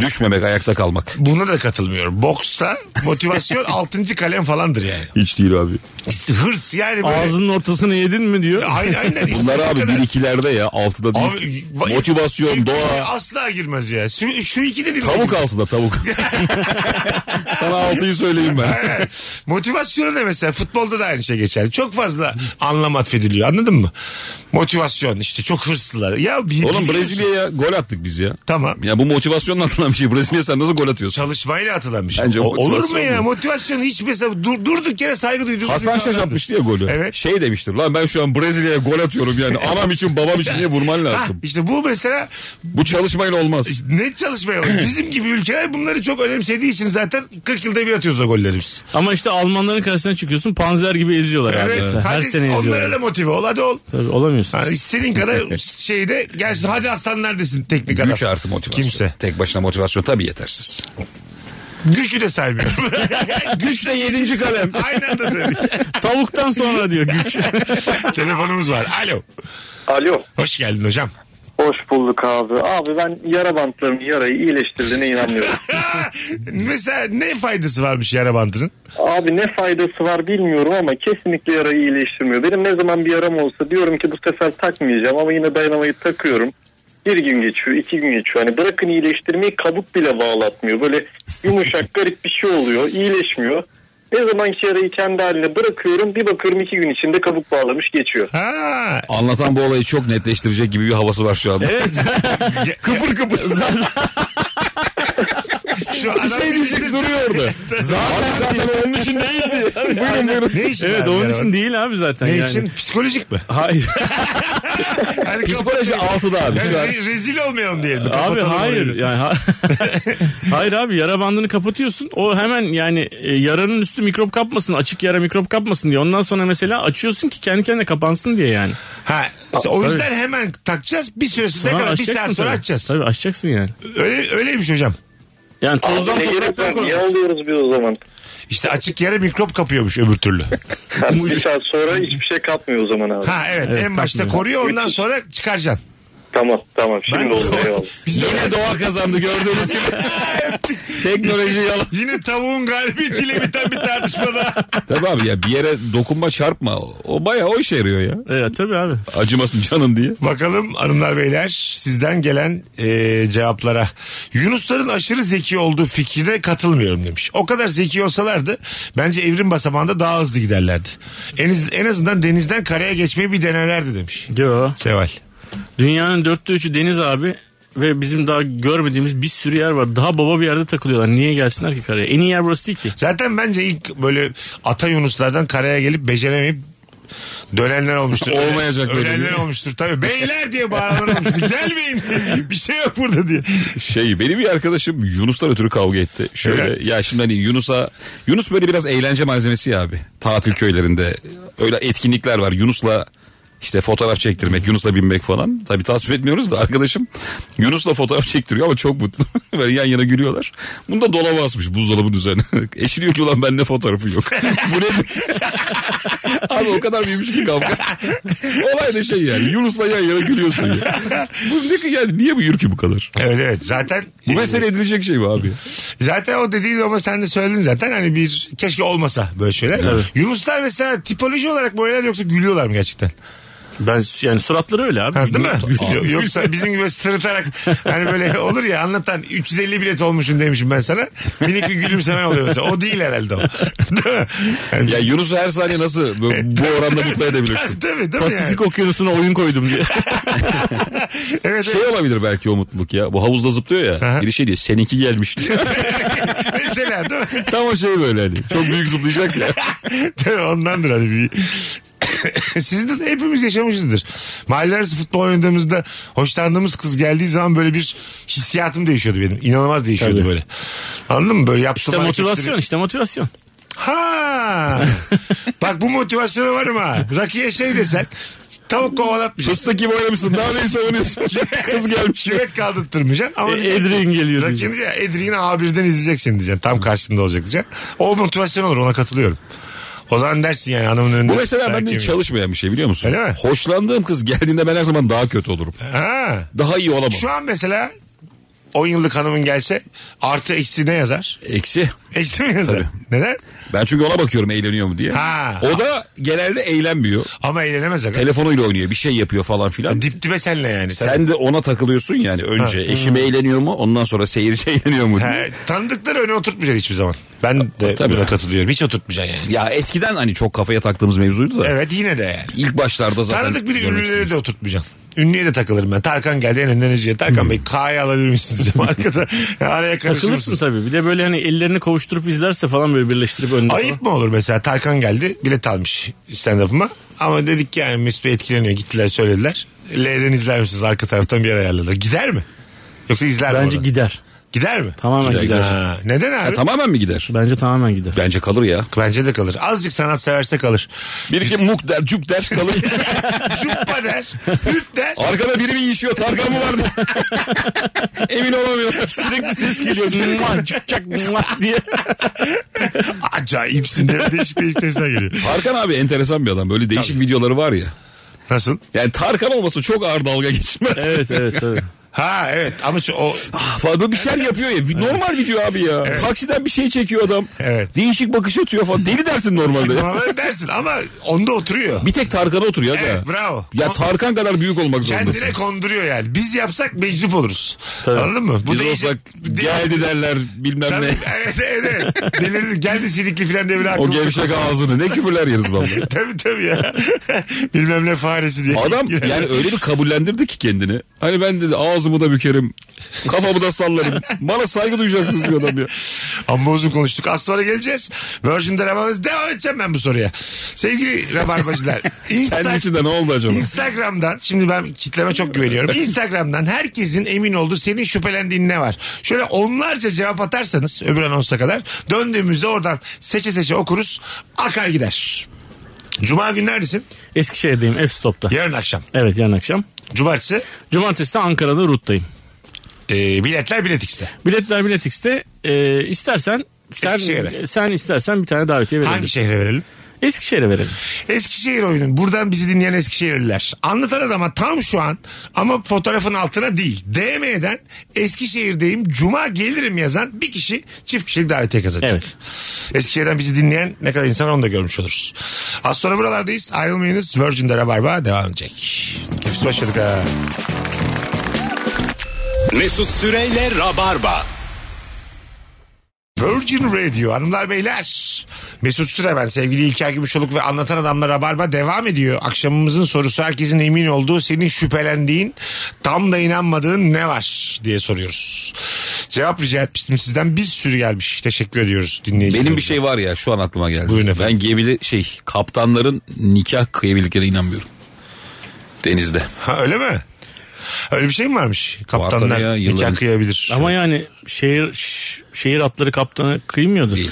Düşmemek, ayakta kalmak.
Buna da katılmıyorum. Boksta
<laughs>
motivasyon altıncı kalem falandır yani.
Hiç değil abi.
İşte hırs yani böyle.
Ağzının ortasını yedin mi diyor.
Aynen aynen.
Bunlar
İstediğin
abi
kadar.
bir ikilerde ya. Altıda değil.
Abi, va-
Motivasyon,
ilk-
doğa.
Asla girmez ya. Şu, şu ikili dinle.
Tavuk
<laughs>
altıda tavuk. <laughs> Sana altıyı söyleyeyim ben.
Evet. <laughs> Motivasyonu da mesela futbolda da aynı şey geçer. Çok fazla anlam atfediliyor anladın mı? Motivasyon işte çok hırslılar. Ya bir,
Oğlum
bir-
Brezilya'ya gol attık biz ya.
Tamam.
Ya bu motivasyonla atılan bir şey. Brezilya sen nasıl gol atıyorsun?
Çalışmayla atılan bir şey.
Bence
O- olur mu
motivasyon
ya?
bu.
Motivasyon hiç mesela dur, durduk yere saygı duyduğumuz
Hasan Şaş
insanlardır.
atmıştı ya golü.
Evet.
Şey demiştir. Lan ben şu an Brezilya'ya gol atıyorum
<laughs>
yani. Anam için babam için niye vurman
Ha,
lazım?
işte bu mesela
Bu çalışmayla olmaz.
net çalışmaya bak. Bizim gibi ülkeler bunları çok önemsediği için zaten 40 yılda bir atıyoruz o golleri biz.
Ama işte Almanların karşısına çıkıyorsun panzer gibi eziyorlar
Evet.
abi. Her
Hadi
sene
onlara da
eziyorlar.
motive ol hadi ol.
Tabii olamıyorsun.
Ha, istediğin kadar şeyde gelsin hadi aslanlar desin teknik adam.
Güç artı motivasyon.
Kimse.
Tek başına motivasyon tabii yetersiz.
Gücü de saymıyorum.
Güç de yedinci kalem.
Aynı anda söyledik.
Tavuktan sonra diyor güç.
Telefonumuz var. Alo.
Alo.
Hoş geldin hocam.
Hoş bulduk abi. Abi ben yara bantlarının yarayı iyileştirdiğine inanmıyorum.
Mesela ne faydası varmış yara bandının?
abi ne faydası var bilmiyorum ama kesinlikle yarayı iyileştirmiyor. Benim ne zaman bir yaram olsa diyorum ki bu sefer takmayacağım ama yine dayanamayı takıyorum. Bir gün geçiyor, iki gün geçiyor. Hani bırakın iyileştirmeyi kabuk bile bağlatmıyor. Böyle yumuşak garip bir şey oluyor, iyileşmiyor. Ne zaman ki yarayı kendi haline bırakıyorum bir bakıyorum iki gün içinde kabuk bağlamış geçiyor.
Ha.
Anlatan bu olayı çok netleştirecek gibi bir havası var şu anda.
<laughs> evet.
ya-
Kıpır kıpır.
Şu adam
şey diyecek duruyor orada.
<laughs>
zaten, abi zaten onun için değildi. buyurun buyurun.
Ne işin
evet
abi
onun
yara
için
bandı?
değil abi zaten.
Ne
yani.
için? Psikolojik mi?
Hayır.
Yani
Psikoloji
kapat-
altıda abi.
Yani
Şu an
re- rezil olmayalım diyelim.
abi
Kapatalım
hayır.
orayı. <laughs>
Yani ha- <laughs> hayır abi yara bandını kapatıyorsun. O hemen yani e, yaranın üstü mikrop kapmasın. Açık yara mikrop kapmasın diye. Ondan sonra mesela açıyorsun ki kendi kendine kapansın diye yani.
Ha, o yüzden hemen takacağız. Bir süre sonra
Sonra
kadar bir
açacaksın
saat sonra
tabii.
açacağız.
Tabii açacaksın yani.
Öyle, öyleymiş hocam.
Yani tozdan
Ne gerek
topraktan
var? Niye
korun.
alıyoruz biz o zaman?
İşte açık yere mikrop kapıyormuş öbür türlü.
Yani bir saat sonra hiçbir şey katmıyor o zaman abi.
Ha evet, en başta
takmıyor.
koruyor ondan sonra çıkaracaksın.
Tamam tamam şimdi
Ben-
oldu eyvallah.
Biz de
Yine doğa kazandı gördüğünüz gibi.
<laughs>
Teknoloji yalan.
Yine tavuğun galibiyetiyle biten bir tartışmada.
Tabii abi ya bir yere dokunma çarpma. O, o bayağı o işe yarıyor ya.
Evet tabii abi.
Acımasın canın diye.
Bakalım hanımlar beyler sizden gelen e, cevaplara. Yunusların aşırı zeki olduğu fikrine katılmıyorum demiş. O kadar zeki olsalardı bence evrim basamağında daha hızlı giderlerdi. En, az- en azından denizden karaya geçmeyi bir denelerdi demiş.
Yo.
Seval.
Dünyanın dörtte üçü deniz abi ve bizim daha görmediğimiz bir sürü yer var. Daha baba bir yerde takılıyorlar. Niye gelsinler ki karaya? En iyi yer burası değil ki.
Zaten bence ilk böyle ata Yunuslardan karaya gelip beceremeyip dönenler olmuştur.
Olmayacak
Ölen-
böyle
Ölenler
bir-
olmuştur tabii. Beyler diye bağıranlar olmuştur. Gelmeyin. <laughs> bir şey yok burada diye.
Şey benim bir arkadaşım Yunus'tan ötürü kavga etti. Şöyle
Evet.
ya şimdi hani Yunus'a Yunus böyle biraz eğlence malzemesi ya abi. Tatil köylerinde öyle etkinlikler var. Yunus'la işte fotoğraf çektirmek, Yunus'la binmek falan. Tabii tasvip etmiyoruz da arkadaşım Yunus'la fotoğraf çektiriyor ama çok mutlu. <laughs> böyle yan yana gülüyorlar. Bunu da dolaba asmış buzdolabının üzerine. <laughs> Eşi diyor ki ulan bende fotoğrafı yok. <laughs> Bu nedir? abi o kadar büyümüş ki kavga. <laughs> Olay da şey yani Yunus'la yan yana gülüyorsun ya. Bu ne ki yani niye bu yürkü bu kadar?
Evet evet zaten.
Bu mesele edilecek şey mi abi?
Zaten o dediğin ama sen de söyledin zaten hani bir keşke olmasa böyle şeyler. Yunuslar mesela tipoloji olarak böyleler yoksa gülüyorlar mı gerçekten?
Ben yani suratları öyle abi.
Ha, değil mi?
Bilmiyorum.
Yo- Yoksa bizim gibi sırıtarak hani böyle olur ya anlatan 350 bilet olmuşum demişim ben sana. Minik bir gülümsemen oluyor mesela. O değil herhalde o. <laughs> Değil mi? Yani
Ya Yunus'u her saniye nasıl bu, bu oranda mutlu
<laughs>
edebilirsin?
Tabii değil mi yani?
Pasifik okyanusuna oyun koydum diye.
Evet,
Şey olabilir belki o mutluluk ya. Bu havuzda zıplıyor
Aha.
ya. Biri şey diyor seninki gelmiş
<laughs>
diyor.
evet. Mesela değil mi? <laughs>
Tam o şey böyle hani. Çok büyük zıplayacak ya.
Tabii ondandır hani bir <coughs> Sizin de hepimiz yaşamışızdır. Mahalle arası futbol oynadığımızda hoşlandığımız kız geldiği zaman böyle bir hissiyatım değişiyordu benim. İnanılmaz değişiyordu
Tabii.
böyle. Anladın mı? Böyle yaptığım
İşte
hareketleri-
motivasyon işte motivasyon.
Ha. Bak bu motivasyona varım ha. Rakiye şey desen tavuk kovalatmayacaksın.
Fıstık gibi oynamışsın. Daha
<laughs>
neyi savunuyorsun? Kız gelmiş.
Küvet kaldırttırmayacaksın ama
E, Edrin geliyor
Rakibini
diyeceksin.
diyeceksin, Edrin'i A1'den izleyeceksin diyeceksin. Tam karşında olacak diyeceksin. O motivasyon olur ona katılıyorum. O zaman dersin yani hanımın önünde.
Bu mesela
dayak
bende hiç
yemeyin.
çalışmayan bir şey biliyor musun?
Öyle mi?
Hoşlandığım kız geldiğinde ben her zaman daha kötü olurum.
Ha.
Daha iyi olamam.
Şu an mesela 10 yıllık hanımın gelse artı eksi ne yazar?
Eksi.
Eksi mi yazar?
Tabii.
Neden?
Ben çünkü ona bakıyorum eğleniyor mu diye.
Ha.
O da genelde eğlenmiyor.
Ama eğlenemez. aga.
Telefonuyla oynuyor bir şey yapıyor falan filan.
Dip dibe senle yani.
Sen de ona takılıyorsun yani önce. Eşim eğleniyor mu ondan sonra seyirci <laughs> eğleniyor mu
Hmm. Ha,
diye.
tanıdıkları öne oturtmayacaksın hiçbir zaman. Ben de
Tabii.
buna katılıyorum. Hiç oturtmayacaksın yani.
Ya eskiden hani çok kafaya taktığımız mevzuydu da.
Evet yine de yani.
İlk başlarda zaten.
Tanıdık bir
görmek
ünlüleri de
istiyorsun.
oturtmayacaksın. Ünlüye de takılırım ben. Tarkan geldi en önden önce. Tarkan Bey K'yı alabilir misiniz
<laughs>
diyeceğim arkada. Araya karışır
Hmm. Takılırsın
mısınız?
tabii. Bir de böyle hani ellerini kavuşturup izlerse falan böyle birleştirip önünde
Ayıp mı olur mesela Tarkan geldi bilet almış stand-up'ıma ama dedik ki yani Mesut Bey etkileniyor gittiler söylediler. L'den izler misiniz arka taraftan bir yer ayarladılar. Gider mi? Yoksa izler
falan.
mi?
Bence
orada?
gider.
gider mi?
Tamamen
Gider,
gider.
Ha, neden abi?
Ha, tamamen mi gider?
Bence tamamen gider.
Bence kalır ya.
Bence de kalır. Azıcık sanat severse kalır.
Bir iki muk der, cuk der
<laughs>
kalır.
Cuppa
<laughs>
der, hüp der.
Arkada biri mi işiyor? Tarkan
<laughs>
mı vardı? Emin olamıyorum. Sürekli ses geliyor.
Mua, çak, çak, mua
<laughs>
diye.
Acayipsin de değişik değişik sesler
<laughs>
geliyor.
Tarkan abi enteresan bir adam. Böyle değişik videoları var ya.
Nasıl?
Yani Tarkan olmasa çok ağır dalga geçilmez. <laughs>
Evet evet tabii.
Ha evet ama şu- o
Ah, falan böyle bir şeyler yapıyor ya. Normal video abi ya. Taksiden bir şey çekiyor adam.
Evet.
Değişik bakış atıyor falan. Deli dersin
<laughs>
normalde. ya.
normal dersin ama onda oturuyor.
bir tek Tarkan'a oturuyor aga.
Evet, bravo.
Ya Tarkan kadar büyük olmak zorundasın.
Kendine konduruyor yani. Biz yapsak meczup oluruz. Anladın mı?
Biz
değişik-
olsak
de-
geldi derler bilmem
Tabii,
<laughs> ne.
evet evet. evet. Delirdi. Geldi silikli filan diye bile
O
aklımda-
gevşek ağzını ne küfürler yeriz vallahi.
<laughs> Tabii tabii ya. <laughs> Bilmem ne faresi diye.
Adam
Girer.
yani öyle bir kabullendirdi ki kendini. Hani ben dedi ağzımı da bükerim. Kafamı
<laughs>
da sallarım. Bana saygı duyacaksınız bir adam ya.
Amma uzun konuştuk. Az sonra geleceğiz. Virgin'de Rabarba'da devam edeceğim ben bu soruya. Sevgili Rabarbacılar.
<laughs> Kendi
Insta-
içinde ne oldu acaba?
Instagram'dan şimdi ben kitleme çok güveniyorum. Instagram'dan herkesin emin olduğu senin şüphelendiğin ne var? Şöyle onlarca cevap atarsanız öbür anonsa kadar döndüğümüzde oradan seçe seçe okuruz akar gider. Cuma gün neredesin?
Eskişehir'deyim F-Stop'ta.
Yarın akşam.
Evet yarın akşam.
Cumartesi
Cumartesi de Ankara'da Rut'tayım.
e, biletler Bilet X'te.
Biletler Biletix'te e, istersen sen,
Eskişehir'e.
sen istersen bir tane davetiye verelim.
Hangi şey? şehre verelim?
Eskişehir'e verelim.
Eskişehir oyunun. Buradan bizi dinleyen Eskişehirliler. Anlatan adama tam şu an ama fotoğrafın altına değil. DM'den Eskişehir'deyim cuma gelirim yazan bir kişi çift kişilik davetiye kazanacak.
Evet.
Eskişehir'den bizi dinleyen ne kadar insan onu da görmüş oluruz. Az sonra buralardayız. Ayrılmayınız. Virgin'de Rabarba devam edecek. Nefis başladık ha.
Mesut Süreyle Rabarba.
Virgin Radio hanımlar beyler. Mesut Süre ben sevgili İlker Gümüşoluk ve Anlatan Adamlar Rabarba devam ediyor. Akşamımızın sorusu herkesin emin olduğu senin şüphelendiğin tam da inanmadığın ne var diye soruyoruz. Cevap rica etmiştim sizden bir sürü gelmiş teşekkür ediyoruz dinleyicilerimize.
Benim bir şey var ya şu an aklıma geldi.
Buyurun efendim.
Ben gemili şey kaptanların nikah kıyabildiklerine inanmıyorum. Denizde.
Ha, öyle mi? Öyle bir şey mi varmış? Kaptanlar
tabii ya, yılların-
nikah kıyabilir.
Ama yani şehir ş- şehir atları kaptanı kıymıyordur.
Değil.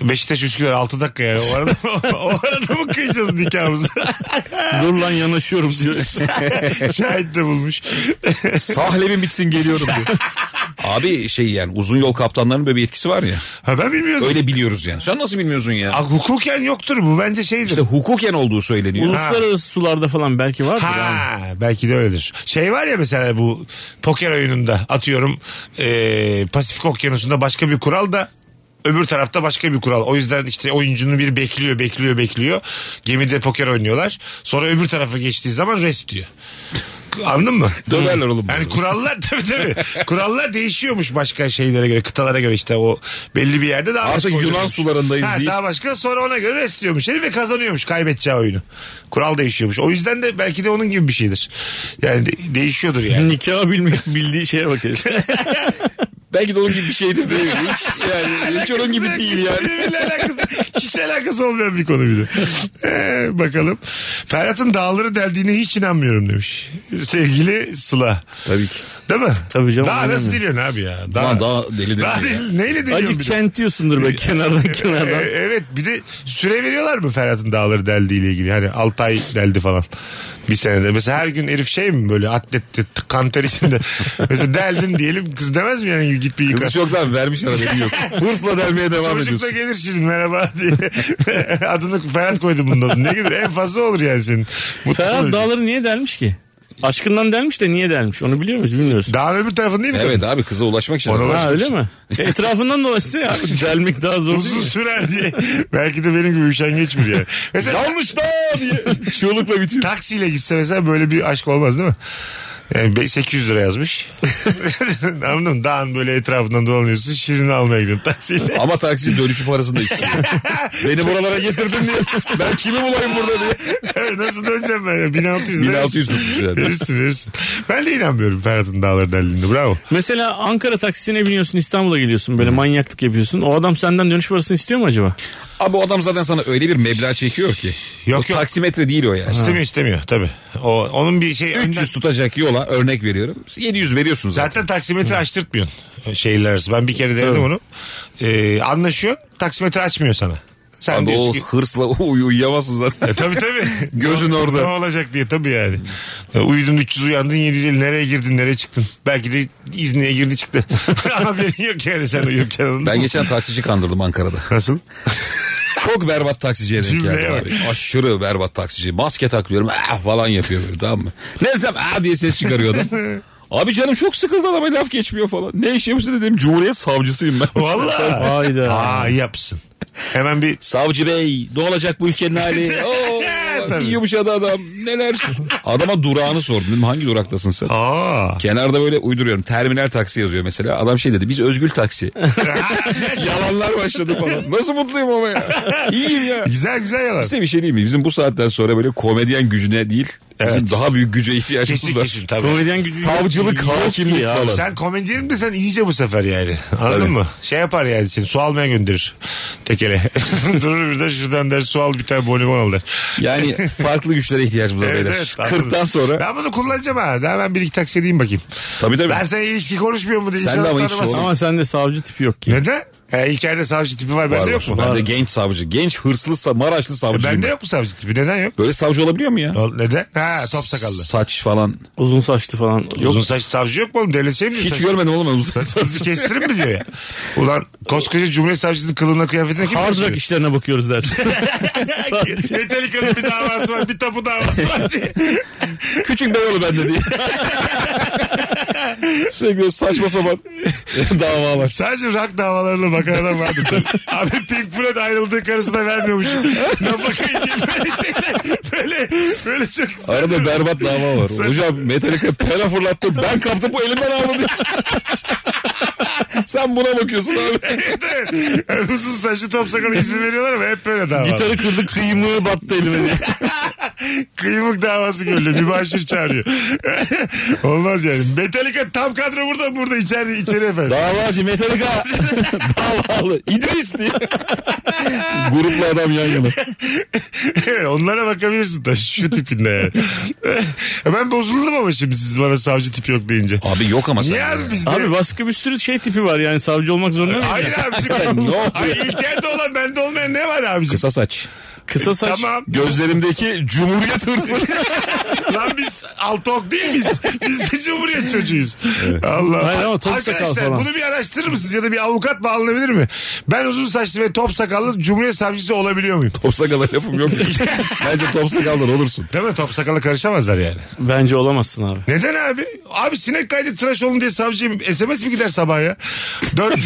Beşiktaş Üsküdar 6 dakika yani. O arada, <laughs> o arada mı kıyacağız
<laughs>
nikahımızı? <laughs>
Dur lan yanaşıyorum diyor.
Şahit de bulmuş.
Sahlebin bitsin geliyorum diyor. <laughs> Abi şey yani uzun yol kaptanların böyle bir etkisi var ya.
Ha, ben bilmiyordum.
Öyle biliyoruz yani. Sen nasıl bilmiyorsun ya?
Ha, hukuken yoktur bu bence şeydir.
İşte hukuken olduğu söyleniyor.
Uluslararası sularda falan belki vardır. yani.
Ha belki de öyledir. Şey var ya mesela bu poker oyununda atıyorum eee, Pasifik Okyanusu'nda başka bir kural da öbür tarafta başka bir kural. O yüzden işte oyuncunun biri bekliyor bekliyor bekliyor. Gemide poker oynuyorlar. Sonra öbür tarafa geçtiği zaman rest diyor. Anladın mı?
Döverler oğlum.
Yani
bunu.
kurallar <laughs> tabii tabii. kurallar değişiyormuş başka şeylere göre, kıtalara göre işte o belli bir yerde daha
Artık
başka
Yunan
oynuyormuş.
sularındayız
Ha,
deyip-
Daha başka sonra ona göre rest diyormuş herif ve kazanıyormuş kaybedeceği oyunu. Kural değişiyormuş. O yüzden de belki de onun gibi bir şeydir. Yani de- değişiyordur
<laughs>
yani.
Nikah bilmek bildiği şeye
<laughs>
bakar.
<laughs> Belki de onun gibi bir şeydir. Değil mi? Hiç, yani, hiç onun gibi
Alakası-
değil yani.
Birbiriyle alakası. Hiç alakası olmayan bir konu bir de. Ee, bakalım. Ferhat'ın dağları deldiğine hiç inanmıyorum demiş. Sevgili Sıla.
Tabii ki.
Değil mi?
Tabii canım,
Daha nasıl
inanmıyorum.
diliyorsun abi ya?
Ulan daha deli deli
Daha
ya.
deli. Neyle deliyorsun
Acık
bir de?
kentiyorsundur be kenardan
Ee,
kenardan.
<laughs> evet bir de süre veriyorlar mı Ferhat'ın dağları deldiğiyle ilgili? Hani 6 ay deldi falan. Bir senede. Mesela her gün herif şey mi böyle atletti t- kanter
<laughs>
içinde. Mesela deldin diyelim kız demez mi yani git bir yıka.
Kızı çoktan vermişler haberin yok. <laughs> Hırsla delmeye devam
Çocuk da
ediyorsun.
gelir şimdi merhaba <laughs> diye. Adını Ferhat koydum bunun adını. Ne gider en fazla olur yani senin. Mutlu
Ferhat
olacaksın.
dağları niye delmiş ki? Aşkından delmiş de niye delmiş onu biliyor muyuz bilmiyoruz.
Dağın öbür tarafın değil mi?
Evet abi kıza ulaşmak için.
Ona
Ha öyle mi? E, Etrafından dolaşsa ya abi, delmek daha zor değil
şey. Uzun
mi?
sürer diye. Belki de benim gibi üşengeç biri yani. Mesela
Yanlış da diye. Çığlıkla bitiyor.
taksiyle gitse mesela böyle bir aşk olmaz değil mi? Yani be- 800 lira
<laughs>
yazmış. Anladın mı? Dağın böyle etrafından dolanıyorsun. Şirin almaya gidiyorsun
<laughs>
taksiyle.
<laughs> Ama taksi dönüşü parasını da istiyor. <laughs> Beni buralara getirdin diye. Ben kimi bulayım burada diye.
Evet, Nasıl döneceğim ben? ya? 1600 lira.
1600 tutmuş yani.
Verirsin verirsin. Ben de inanmıyorum Ferhat'ın dağları deldiğinde. Bravo.
Mesela Ankara taksisine biniyorsun İstanbul'a geliyorsun böyle manyaklık yapıyorsun. O adam senden dönüş parasını istiyor
<laughs>
mu acaba?
Abi o adam zaten sana öyle bir meblağ çekiyor ki.
Yok,
o
yok.
taksimetre değil o yani.
İstemiyor istemiyor tabii. O, onun bir şey...
300 tutacak yola örnek veriyorum. 700 veriyorsun zaten.
Zaten taksimetre açtırtmıyorsun şehirler arası. Ben bir kere denedim onu. Ee, anlaşıyor. Taksimetre açmıyor sana. Sen
Abi
diyorsun
o
ki...
hırsla <laughs> uy uyuyamazsın
<laughs>
zaten.
E, tabii tabii.
<laughs> Gözün orada.
Ne olacak diye tabii yani. E, Uyudun 300 uyandın 750 nereye girdin nereye çıktın. Belki de İzni'ye girdi
<laughs>
çıktı. <laughs> Haberin yok yani sen uyurken. anladın
Ben
mı?
geçen taksici kandırdım Ankara'da.
Nasıl?
Çok berbat taksiciye denk
Cümleye
geldim
bak.
abi. Aşırı berbat taksici. Maske takıyorum ah falan yapıyor böyle tamam mı? Ne desem ah diye ses çıkarıyor adam.
<laughs>
Abi canım çok sıkıldı adama laf geçmiyor falan. Ne iş yapıyorsun dedim Cumhuriyet savcısıyım ben.
Valla.
Hayda.
Aa iyi yapsın. Hemen bir
<laughs> Savcı bey ne olacak bu
<laughs>
ülkenin hali? Oo,
Tabii.
bir yumuşadı adam
<laughs>
neler. Adama durağını sordum dedim hangi duraktasın sen?
Aa.
Kenarda böyle uyduruyorum terminal taksi yazıyor mesela. Adam şey dedi biz
<laughs>
özgül taksi. Yalanlar başladı falan. Nasıl mutluyum ama ya.
<laughs>
İyiyim ya.
güzel güzel yalan.
Size bir şey diyeyim mi? Bizim bu saatten sonra böyle komedyen gücüne değil,
Evet.
bizim daha büyük güce ihtiyacımız
Kesin
var.
kesin tabii.
Komedyen gücü
Savcılık,
yok ki
hakimlik
ya.
falan.
Sen komedyenin de sen iyice bu sefer yani. Anladın
Tabii.
mı? Şey yapar yani seni su almaya gönderir. Tekele. <laughs> Durur bir de şuradan der su al bir tane bonibon al der.
Yani farklı güçlere ihtiyacımız var beyler.
anladım.
40'tan sonra.
Ben bunu kullanacağım ha. Daha ben bir iki taksi edeyim bakayım.
Tabii tabii.
Ben sana ilişki konuşmuyor mu diye.
Sen de
inşallah
ama hiç
tanımazsın.
sorun.
Ama sende savcı tipi yok ki.
Neden? E, İlker'de savcı tipi var.
var,
Bende
var.
yok mu? E,
Ben de genç savcı. Genç hırslı sa- Maraşlı savcı.
Bende yok mu savcı tipi? Neden yok?
Böyle savcı olabiliyor mu ya?
O- Neden? Ha top sakallı.
Saç falan.
Uzun saçlı falan. Yok.
Uzun saç savcı yok mu oğlum? Devlet şey mi diyor?
Hiç
Saç-
görmedim oğlum ben uzun
Saçınızı kestirin mi diyor ya? Ulan koskoca Cumhuriyet Savcısının kılığına kıyafetine kim
Hard
bakıyor?
rock işlerine
<laughs>
bakıyoruz dersin.
Metallica'nın bir davası var, bir tapu davası var diye.
Küçük Beyoğlu
<laughs>
bende diye. Sürekli
<laughs>
saçma sapan davalar.
Sadece rock davalarına bakan adam vardı.
<laughs>
Abi Pink Floyd ayrıldığı karısına vermiyormuş. Nafakayı diye böyle şeyler. Böyle, böyle çok...
Arada berbat dava var. Hocam Metallica pera fırlattı. Ben kaptım bu elimden aldı diye. <laughs> Sen buna bakıyorsun abi.
Evet. Uzun saçlı top sakalı izin veriyorlar ama hep böyle dava.
Gitarı kırdı kıymığı battı elime.
Kıymık davası görülüyor. Mübaşir çağırıyor. <laughs> Olmaz yani. Metallica tam kadro burada burada içeri içeri efendim.
Davacı
<laughs>
Metallica. Davalı. İdris diye. Grupla adam yan yana.
<laughs> Evet, Onlara bakabilirsin da şu tipinde yani. <laughs> ben bozuldum ama şimdi siz bana savcı tipi yok deyince.
Abi yok ama sen.
Niye abi bizde?
Abi başka bir sürü şey tipi var yani savcı olmak zorunda mı?
Hayır
<laughs>
abiciğim.
Ne oldu?
Hayır İlker'de olan bende olmayan ne var abiciğim?
Kısa saç.
Kısa saç.
Tamam.
Gözlerimdeki cumhuriyet hırsı.
Lan biz altok değil miyiz? Biz de cumhuriyet çocuğuyuz. Allah.
Hayır ama top sakal
Arkadaşlar
falan.
bunu bir araştırır mısınız? Ya da bir avukat bağlanabilir mi? Ben uzun saçlı ve top sakallı cumhuriyet savcısı olabiliyor muyum?
<laughs> top sakala lafım <laughs> yok. Bence top sakaldan olursun.
Değil mi? Top sakalla karışamazlar yani.
Bence olamazsın abi.
Neden abi? Abi sinek kaydı tıraş olun diye savcıyım. SMS mi gider sabah ya?
<laughs>
Dört...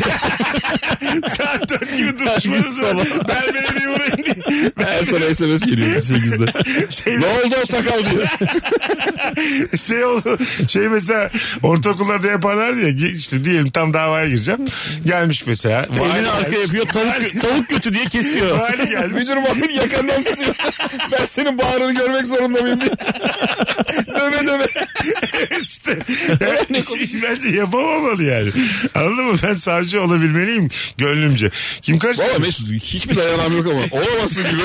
Saat dört gibi duruşmanız var. Berbere bir uğrayın diye.
Her sana SMS geliyor 8'de.
Şey,
ne oldu o sakal diyor.
<laughs> şey oldu. Şey mesela ortaokullarda yaparlar diye işte diyelim tam davaya gireceğim. Gelmiş mesela.
Elini arka yapıyor tavuk, tavuk götü diye kesiyor.
Vali gelmiş.
<laughs> Müdür Mahmut yakandan tutuyor. ben senin bağrını görmek zorunda mıyım diye. döve döve.
<laughs>
işte. Yani, hiç bence yapamamalı yani. Anladın mı? Ben savcı olabilmeliyim gönlümce. Kim
Valla
karıştırdı?
Mesut hiçbir dayanağım yok ama olamazsın gibi.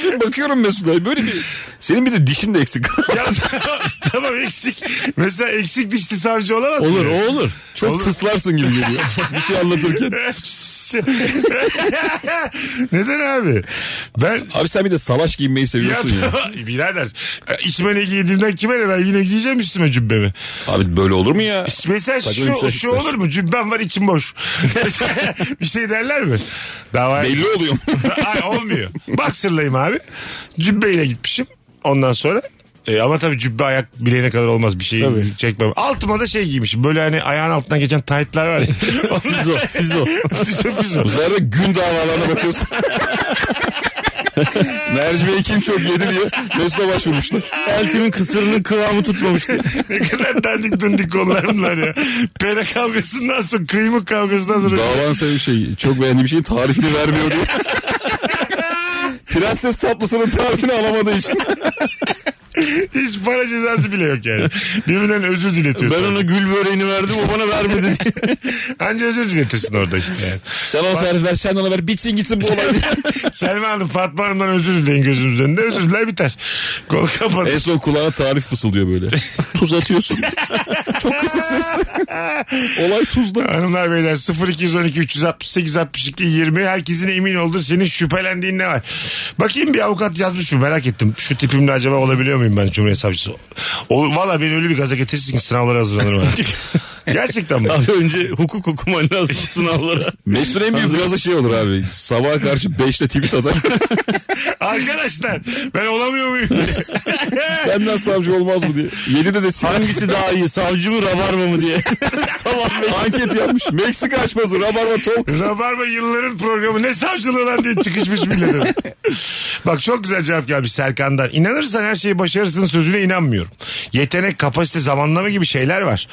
Şimdi bakıyorum Mesut'a böyle bir... Senin bir de dişin de eksik. <laughs>
Ya, tamam, <laughs> tamam eksik. Mesela eksik dişli savcı olamaz mı?
Olur o olur.
Çok
Oğlum.
<laughs> tıslarsın gibi geliyor. Bir şey
<laughs>
anlatırken.
<laughs> Neden abi? Ben
Abi sen bir de salaş giyinmeyi
ya,
seviyorsun
<laughs>
ya.
birader içime ne giydiğimden kime ne ben yine giyeceğim üstüme cübbemi.
Abi böyle olur mu ya?
Mesela
Saçma bir
şu,
şey
şu
ister.
olur mu cübbem var içim boş. bir şey derler mi? Davaya...
Belli oluyor.
Ay olmuyor. Baksırlayım abi. Cübbeyle gitmişim. Ondan sonra e, ama tabii cübbe ayak bileğine kadar olmaz bir şey çekmem. Altıma da şey giymişim. Böyle hani ayağın altına geçen taytlar var ya.
Füzo füzo.
Füzo, füzo.
Sonra gün davalarına bakıyorsun. Mercimeği kim çok yedi diye Mesut'a başvurmuşlar.
Eltimin kısırının kıvamı tutmamıştı.
ne kadar dandik dundik konular bunlar ya. Pere kavgasından sonra kıymık kavgasından sonra.
<laughs> Davan senin şey çok beğendiğim şeyin tarifini vermiyor diye. Prenses tatlısının tarifini alamadığı için.
Hiç para cezası bile yok yani. Birbirinden özür diletiyorsun.
Ben ona gül böreğini verdim o bana vermedi diye.
Anca özür diletirsin orada işte yani.
<laughs> Sen ona tarif ver sen ona ver bitsin gitsin bu olay
<laughs>
diye.
Selma Hanım Fatma Hanım'dan özür dileyin gözümüzün önünde. Özür diler biter. Kol kapanır.
E-
en son kulağına tarif fısıldıyor böyle. Tuz
<laughs>
atıyorsun. çok kısık sesle. Olay tuzda.
Hanımlar beyler 0212 368 62 20 herkesin emin olduğu senin şüphelendiğin ne var? Bakayım bir avukat yazmış mı merak ettim. Şu tipimle acaba olabiliyor muyum ben Cumhuriyet Savcısı? O, valla beni öyle bir gaza getirsin ki sınavlara hazırlanırım. ha. Gerçekten
<laughs>
bak.
Abi önce hukuk okuman
<laughs>
lazım sınavlara.
<laughs> Mesut'un en büyük gazı şey olur abi. Sabaha karşı 5'te tweet atar. <laughs>
Arkadaşlar ben olamıyor muyum?
Benden savcı olmaz mı diye. 7'de de siyah.
Hangisi daha iyi savcı mı rabarma mı diye. <laughs>
Sabah anket yapmış. Meksika açması. Rabarba tol.
Rabarba yılların programı ne savcılığı lan diye çıkışmış millete. Bak çok güzel cevap gelmiş Serkan'dan. İnanırsan her şeyi başarırsın sözüne inanmıyorum. Yetenek, kapasite, zamanlama gibi şeyler var.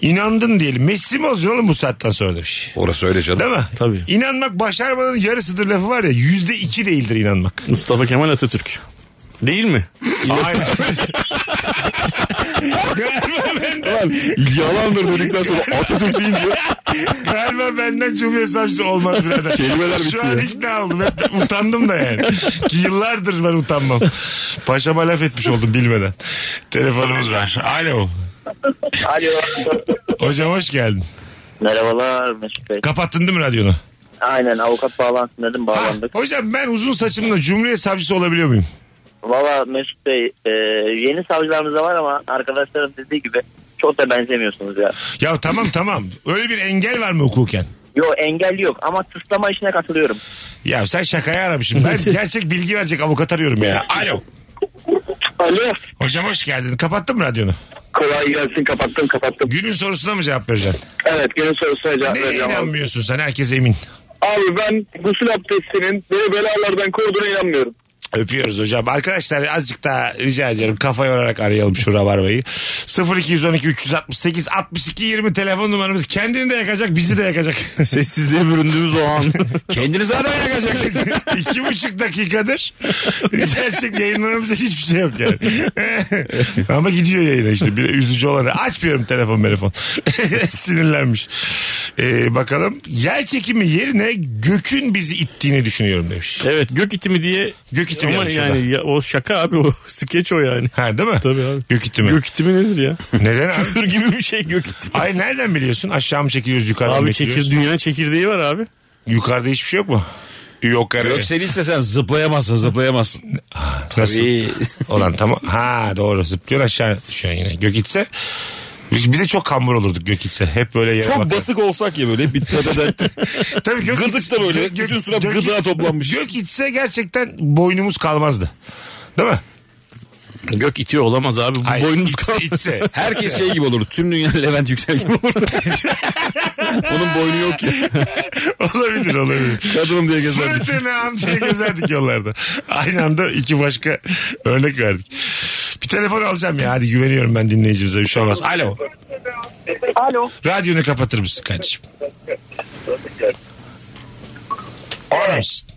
İnandın diyelim. Messi mi olacaksın oğlum bu saatten sonra demiş.
Orası öyle canım.
Değil mi?
Tabii.
İnanmak başarmanın yarısıdır lafı var ya. Yüzde iki değildir inanmak.
Mustafa Kemal Atatürk. Değil mi?
Aynen. galiba, benden,
Lan yalandır dedikten sonra Atatürk deyince
galiba benden Cumhuriyet Savcısı olmaz birader.
Kelimeler bitti
Şu an
ya.
ikna oldum. Hep utandım da yani. Ki yıllardır ben utanmam. Paşama laf etmiş oldum bilmeden. Telefonumuz var. Alo.
Alo.
Hocam hoş geldin.
Merhabalar Mesut Bey.
Kapattın değil mi radyonu?
Aynen avukat bağlantı dedim
Ha,
bağlandık.
hocam ben uzun saçımla Cumhuriyet Savcısı olabiliyor muyum?
Valla Mesut Bey e, yeni savcılarımız da var ama arkadaşlarım dediği gibi çok da benzemiyorsunuz ya.
Ya tamam tamam. Öyle bir engel var mı hukuken?
Yo engel yok ama tıslama işine katılıyorum.
Ya sen şakaya aramışım.
<laughs>
Ben gerçek bilgi verecek avukat arıyorum ya. Alo.
Alo.
Hocam hoş geldin. Kapattın mı radyonu?
Kolay gelsin kapattım kapattım.
Günün sorusuna mı cevap vereceksin?
Evet günün sorusuna cevap
Neye
vereceğim abi.
inanmıyorsun sen? Herkes emin.
Abi ben gusül abdestinin beni belalardan koruduğuna inanmıyorum.
Öpüyoruz hocam. Arkadaşlar azıcık daha rica ediyorum. Kafa yorarak arayalım şu rabarbayı. 0212 368 62 20 telefon numaramız. Kendini de yakacak, bizi de yakacak. <laughs>
Sessizliğe büründüğümüz o an.
kendini zaten yakacak.
İki buçuk dakikadır. Gerçek yayınlarımızda hiçbir şey yok yani. <laughs> Ama gidiyor yayına işte. Bir üzücü olanı. Açmıyorum telefon telefon. <laughs> Sinirlenmiş. Ee, bakalım. Yer çekimi yerine gökün bizi ittiğini düşünüyorum demiş.
evet gök itimi diye.
Gök itimi
Ama
yani şurada.
yani ya, o şaka abi o <laughs> skeç o yani.
Ha değil mi?
Tabii abi.
Gök itimi.
Gök itimi nedir ya?
Neden
<laughs>
abi?
Küfür gibi bir şey gök itimi.
Ay nereden biliyorsun? Aşağı mı çekiliyoruz yukarı mı
Abi
çekiliyoruz?
çekir, dünyanın çekirdeği var abi.
Yukarıda hiçbir şey yok mu? Yok herhalde.
Yükselinse sen zıplayamazsın zıplayamazsın.
Nasıl? Olan tamam. Ha doğru zıplıyor aşağı düşüyor yine. Gök itse. Biz, bir de çok kambur olurduk gök itse. Hep böyle yere
Çok
bakar.
basık olsak ya böyle bir tepeden.
Tabii gök
Gıdık da böyle.
gök- gök-
bütün surat
gök-
gıdığa toplanmış.
Gök itse gerçekten boynumuz kalmazdı. Değil mi?
<laughs> Gök itiyor olamaz abi. Bu
Hayır,
boynumuz
itse-
kaldı.
itse.
Herkes şey gibi olur. Tüm <laughs> dünya Levent Yüksel gibi olur. <laughs> Onun boynu yok ya.
olabilir olabilir.
Kadınım diye gezer.
Fırtınam diye gezerdik yollarda. Aynı anda iki başka örnek verdik. Bir telefon alacağım ya. Hadi güveniyorum ben dinleyicimize. Bir şey olmaz. Alo.
Alo.
Radyonu kapatır mısın kardeşim? Orada mısın?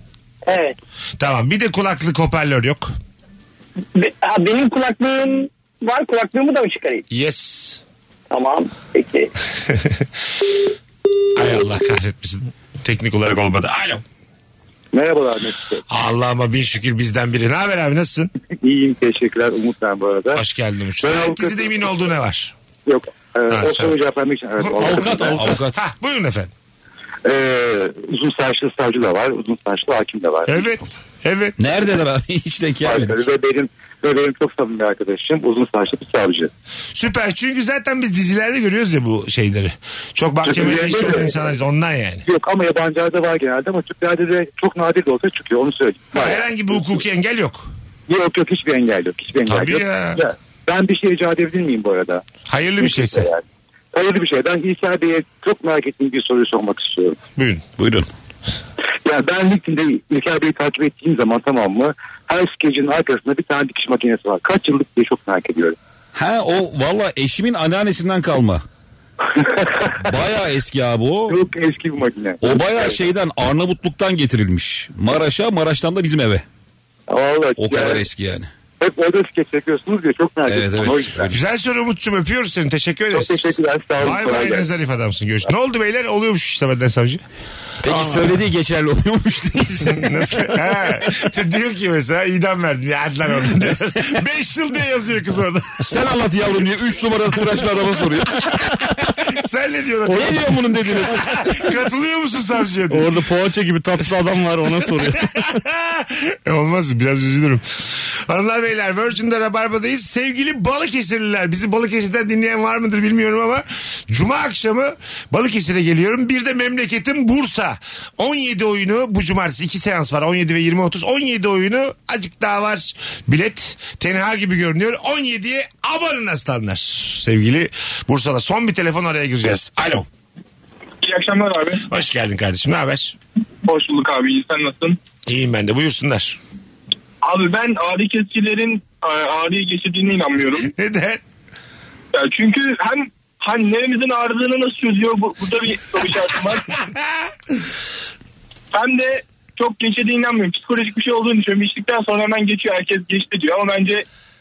Evet.
Tamam bir de kulaklık hoparlör yok.
Be- ha, benim kulaklığım var kulaklığımı da mı çıkarayım?
Yes.
Tamam peki.
Ay Allah kahretmesin. Teknik olarak olmadı. Alo.
Merhabalar Mesut Bey.
Allah'ıma bin şükür bizden biri. Ne haber abi nasılsın?
İyiyim teşekkürler Umut ben bu arada.
Hoş geldin Uçur.
Ben avukat-
Herkesin emin olduğu ne var?
Yok. E,
Ha,
o
sen-
soruyu cevaplamak için. Evet,
Avukat avukat.
Avukat.
Ha, buyurun efendim.
E, uzun saçlı savcı da var. Uzun saçlı hakim de var.
Evet. Evet.
Neredeler abi? <laughs> Hiç denk gelmedik.
Arkadaşı Ve benim, ve benim çok samimi arkadaşım uzun saçlı bir savcı.
Süper. Çünkü zaten biz dizilerde görüyoruz ya bu şeyleri. Çok mahkemede iş olan insanlarız. Ondan yani.
Yok ama yabancılarda var genelde ama Türklerde de çok nadir de olsa çıkıyor onu söyleyeyim.
Ha, herhangi bir hukuki engel yok.
Yok yok hiçbir engel yok. Hiçbir engel
Tabii
yok.
ya.
Ben bir şey icat edebilir miyim bu arada?
Hayırlı bir
şey.
şeyse.
Yani. Hayırlı bir şey. Ben İsa Bey'e çok merak ettiğim bir soruyu sormak istiyorum.
Buyurun.
Buyurun.
Yani ben LinkedIn'de İlker Bey'i takip ettiğim zaman tamam mı? Her skecin arkasında bir tane dikiş makinesi var. Kaç yıllık diye çok merak ediyorum.
Ha o valla eşimin anneannesinden kalma. Baya eski abi o.
Çok eski bir makine.
O baya şeyden Arnavutluk'tan getirilmiş. Maraş'a Maraş'tan da bizim eve.
Vallahi,
O kadar
yani
eski yani.
Hep orada skeç çekiyorsunuz diye çok merak
Evet,
ettim.
evet.
O yüzden.
Öyle.
Güzel soru Umut'cum öpüyoruz seni. Teşekkür
Çok
ederiz.
teşekkürler. Sağ olun.
Vay
kolay
vay ne
gelsin.
zarif adamsın görüş. Ne oldu beyler? Oluyormuş işte benden savcı.
Peki söylediği geçerli oluyormuş
<laughs>
diye.
Nasıl?
<laughs>
Ha. Diyor ki mesela idam verdim. Ya hadi lan
<laughs>
oradan diyor. Beş yıl diye yazıyor kız orada. <laughs>
Sen anlat yavrum diye 3 numaralı tıraşlı adama soruyor.
Sen ne diyorsun?
ne diyor bunun dediniz?
Katılıyor musun savcıya? diyor.
Orada poğaça gibi tatlı adam var ona soruyor.
<laughs> E, Olmaz biraz üzülürüm. Hanımlar beyler Virgin'de Rabarba'dayız. Sevgili Balıkesirliler bizi Balıkesir'den dinleyen var mıdır bilmiyorum ama Cuma akşamı Balıkesir'e geliyorum. Bir de memleketim Bursa. 17 oyunu bu cumartesi 2 seans var 17 ve 20.30. 17 oyunu acık daha var bilet. Tenha gibi görünüyor. 17'ye abanın aslanlar. Sevgili Bursa'da son bir telefon araya gireceğiz. Alo.
İyi akşamlar abi.
Hoş geldin kardeşim ne haber?
Hoş bulduk abi. İyi, Sen nasılsın?
İyiyim ben de buyursunlar.
Abi ben ağrı kesicilerin e, ağrıyı geçirdiğine inanmıyorum.
Neden?
Ya çünkü hem hani neremizin ağrıdığını nasıl çözüyor bu, burada bir soru işaretim var. hem de çok geçirdiğine inanmıyorum. Psikolojik bir şey olduğunu düşünüyorum. İçtikten sonra hemen geçiyor. Herkes geçti diyor ama bence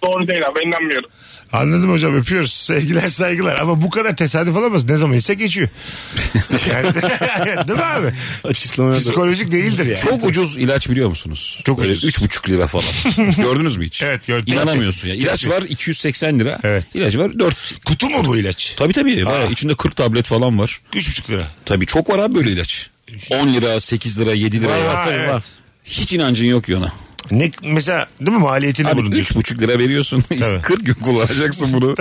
doğru değil abi. Ben inanmıyorum.
Anladım hocam öpüyoruz. Sevgiler saygılar. Ama bu kadar tesadüf olamaz. Ne zaman ise geçiyor. Yani, <laughs> değil mi abi?
Açıklamaya da-
Psikolojik değildir yani.
Çok ucuz ilaç biliyor musunuz?
Çok
Böyle
ucuz.
üç buçuk lira falan.
<laughs>
Gördünüz mü hiç?
Evet, gördüm.
İnanamıyorsun ya. İlaç var 280 lira.
Evet. Ah.
İlacı var 4.
Kutu mu bu ilaç?
Tabii tabii. Bayağı içinde 40 tablet falan var.
3,5 lira.
Tabii çok var abi böyle ilaç. 10 lira, 8 lira, 7 lira.
Var,
Var,
var, evet.
Hiç inancın yok yana.
Ne, mesela değil mi maliyetini
Abi
bunun diyorsun.
3,5 lira veriyorsun. <laughs>
Tabii.
40 gün
<laughs>
kullanacaksın bunu.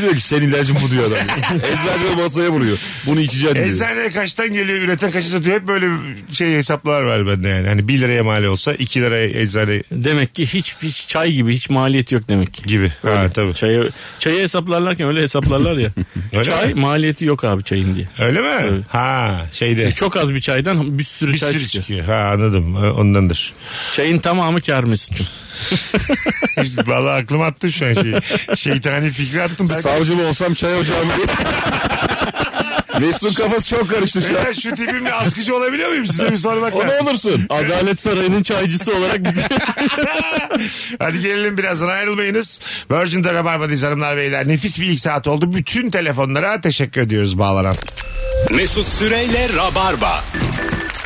diyor ki senin ilacın bu diyor adam. Eczacı masaya vuruyor. Bunu içeceksin diyor.
Eczaneye kaçtan geliyor, üreten kaça satıyor. Hep böyle şey hesaplar var bende yani. Hani 1 liraya mal olsa 2 liraya eczane
Demek ki hiç, hiç çay gibi hiç maliyet yok demek ki.
gibi. Ha, tabii.
Çayı, çayı hesaplarlarken öyle hesaplarlar ya.
Öyle
çay
mi?
maliyeti yok abi çayın diye. E,
Öyle mi? Ha şeyde.
Çok az bir çaydan bir sürü
Bir
çay
sürü
çıkıyor.
çıkıyor. Ha anladım. Ondandır.
Çayın tamamı kar Mesut'cum.
Hiç- Vallahi aklım attı şu an şeyi. Şeytani fikri
<laughs>
attım. Belki
Savcı mı olsam çay ocağı mı? <laughs> Mesut'un kafası çok karıştı şu an.
Beyler şu tipimle askıcı olabiliyor muyum? Size bir sormak
O ne
lazım.
olursun?
Adalet Sarayı'nın çaycısı
<laughs>
olarak <laughs>
Hadi gelelim birazdan ayrılmayınız. Virgin'de Rabarba'dayız hanımlar beyler. Nefis bir ilk saat oldu. Bütün telefonlara teşekkür ediyoruz bağlanan.
Mesut Süreyle Rabarba.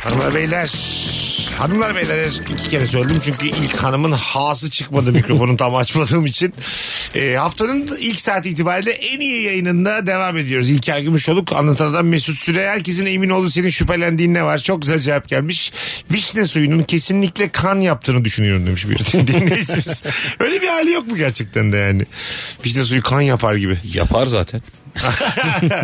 Hanımlar beyler. Hanımlar beyler iki kere söyledim çünkü ilk hanımın hası çıkmadı mikrofonu tam açmadığım için. Ee, haftanın ilk saati itibariyle en iyi yayınında devam ediyoruz. İlker Gümüşoluk anlatan adam Mesut Süre herkesin emin olduğu senin şüphelendiğin ne var? Çok güzel cevap gelmiş. Vişne suyunun kesinlikle kan yaptığını düşünüyorum demiş bir <laughs> dinleyicimiz. Öyle bir hali yok mu gerçekten de yani? Vişne suyu kan yapar gibi. <laughs>
Yapar zaten.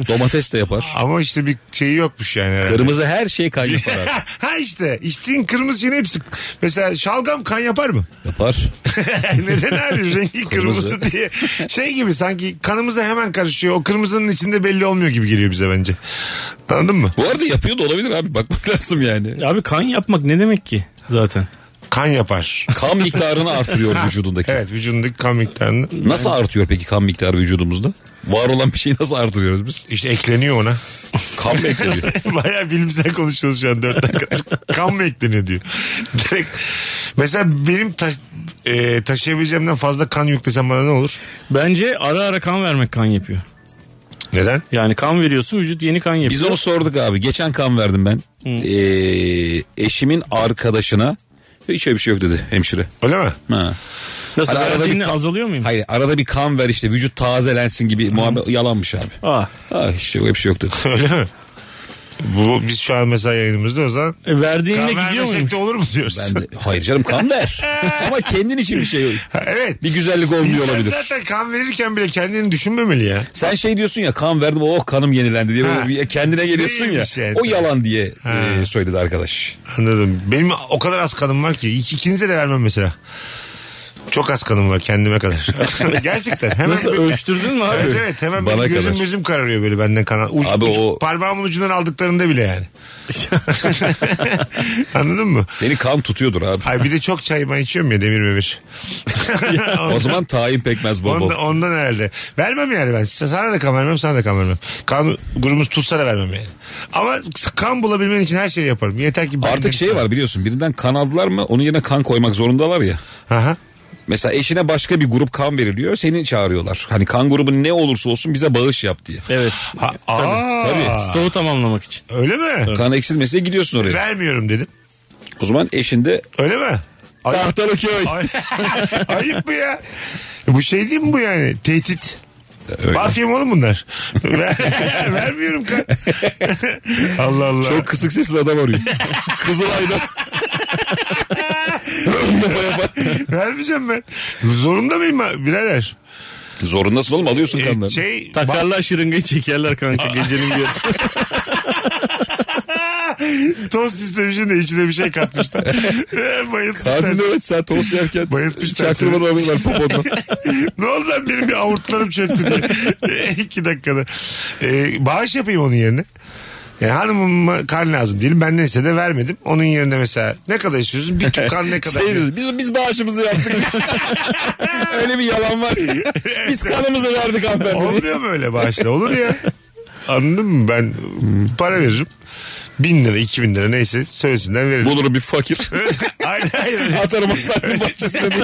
Domates de yapar.
Ama işte bir şeyi yokmuş yani. herhalde.
Kırmızı her şey kan
<laughs>
yapar abi.
ha işte içtiğin kırmızı şeyin hepsi. Mesela şalgam kan yapar mı? <laughs>
Yapar.
Neden abi rengi kırmızı diye. Şey gibi sanki kanımıza hemen karışıyor. O kırmızının içinde belli olmuyor gibi geliyor bize bence. Anladın mı?
Bu arada yapıyor da olabilir abi. Bakmak lazım yani.
Abi kan yapmak ne demek ki zaten?
Kan yapar.
Kan miktarını artırıyor vücudundaki.
Evet vücudundaki kan miktarını.
Nasıl artıyor peki kan miktarı vücudumuzda? Var olan bir şeyi nasıl artırıyoruz biz?
İşte ekleniyor ona. <laughs>
Kan mı ekleniyor?
Baya bilimsel konuşuyoruz şu an 4 dakika. kan mı ekleniyor diyor. Direkt. Mesela benim taş- e, taşıyabileceğimden fazla kan yüklesem bana ne olur?
Bence ara ara kan vermek kan yapıyor.
Neden?
Yani kan veriyorsun vücut yeni kan yapıyor.
Biz onu sorduk abi. Geçen kan verdim ben. Ee, eşimin arkadaşına hiç öyle bir şey yok dedi hemşire.
Öyle mi?
Ha.
Nasıl
Hani arada
verdiğinle
bir kan-
azalıyor muyum?
Hayır arada bir kan ver işte vücut tazelensin gibi muhabbet yalanmış abi.
Aa,
Ha, hiç öyle bir şey yoktu.
Öyle mi? Bu biz şu an mesela yayınımızda o zaman
e, verdiğinle
kan
gidiyor
vermesek
muymuş?
de olur mu diyoruz?
Ben <laughs> de, hayır canım kan ver. Ama kendin için bir şey yok.
<laughs> Ha, evet.
Bir güzellik olmuyor
İnsan
olabilir.
zaten kan verirken bile kendini düşünmemeli ya.
Sen şey diyorsun ya kan verdim oh kanım yenilendi diye böyle
Ha.
bir şey kendine geliyorsun ya.
Neymiş yani?
O yalan diye e, söyledi arkadaş.
Anladım. Benim o kadar az kanım var ki. İk- ikinize de vermem mesela. Çok az kanım var kendime
<laughs>
kadar. Gerçekten. Hemen
Nasıl
bir-
ölçtürdün mü abi?
Evet evet hemen benim
Bana
gözüm
kadar.
gözüm kararıyor böyle benden kana. Uç,
Abi
uç-
o-
Parmağımın ucundan aldıklarında bile
<laughs>
yani. <laughs> Anladın mı?
Seni kan tutuyordur abi.
Ay bir de çok çay ben içiyorum ya demir memir. <laughs>
O zaman tayin pekmez bol bol.
Ondan, ondan herhalde. Vermem yani ben. Size- Sana da kan vermem, sana da kan vermem. Kan grubumuz tutsa da vermem yani. Ama kan bulabilmen için her şeyi yaparım. Yeter ki...
Artık şey var biliyorsun birinden kan aldılar mı onun yerine kan koymak zorundalar ya.
Aha.
Mesela eşine başka bir grup kan veriliyor seni çağırıyorlar. Hani kan grubu ne olursa olsun bize bağış yap diye.
Evet.
Ha, aa,
Tabii.
Stoğu tamamlamak için.
Öyle mi?
Kan eksilmese gidiyorsun oraya.
Vermiyorum dedim.
O zaman eşin de
Öyle mi? Ayıp,
tahtalı köy.
ay- <laughs> ayıp mı ya? Bu şey değil mi bu yani? Tehdit. Mafya mı oğlum bunlar? <laughs> Ver- Vermiyorum kan. <laughs> Allah Allah.
Çok kısık sesli
<laughs>
adam arıyor. Kızılay'da.
Vermeyeceğim ben. Zorunda mıyım ben? Birader.
Zorundasın oğlum alıyorsun
E,
kanları.
şey, ba-
Takarlar şırıngayı çekerler kanka gecenin bir yarısı.
tost istemişim de içine bir şey katmışlar. E, Bayıltmışlar.
Abi evet sen
<laughs>
tost yerken
Bayıltmışlar
çaktırmadan
seni.
alıyorlar popondan.
<laughs> ne oldu lan benim bir avurtlarım çöktü diye. E, İki dakikada. E, bağış yapayım onun yerine. Yani hanımıma kan lazım diyelim. Ben neyse de vermedim. Onun yerine mesela ne kadar istiyorsun? Bir tüp kan ne
<laughs>
kadar?
Şey diyoruz, biz, biz bağışımızı yaptık. Öyle bir yalan var. Biz kanımızı verdik hanımefendi. diye.
Olmuyor mu öyle bağışla? Olur ya. Anladın mı? Ben para veririm. Bin lira, iki bin lira neyse söylesinden veririm. <laughs>
Bulurum bir fakir.
Aynen aynen.
Atarım hastanenin bahçesine diye.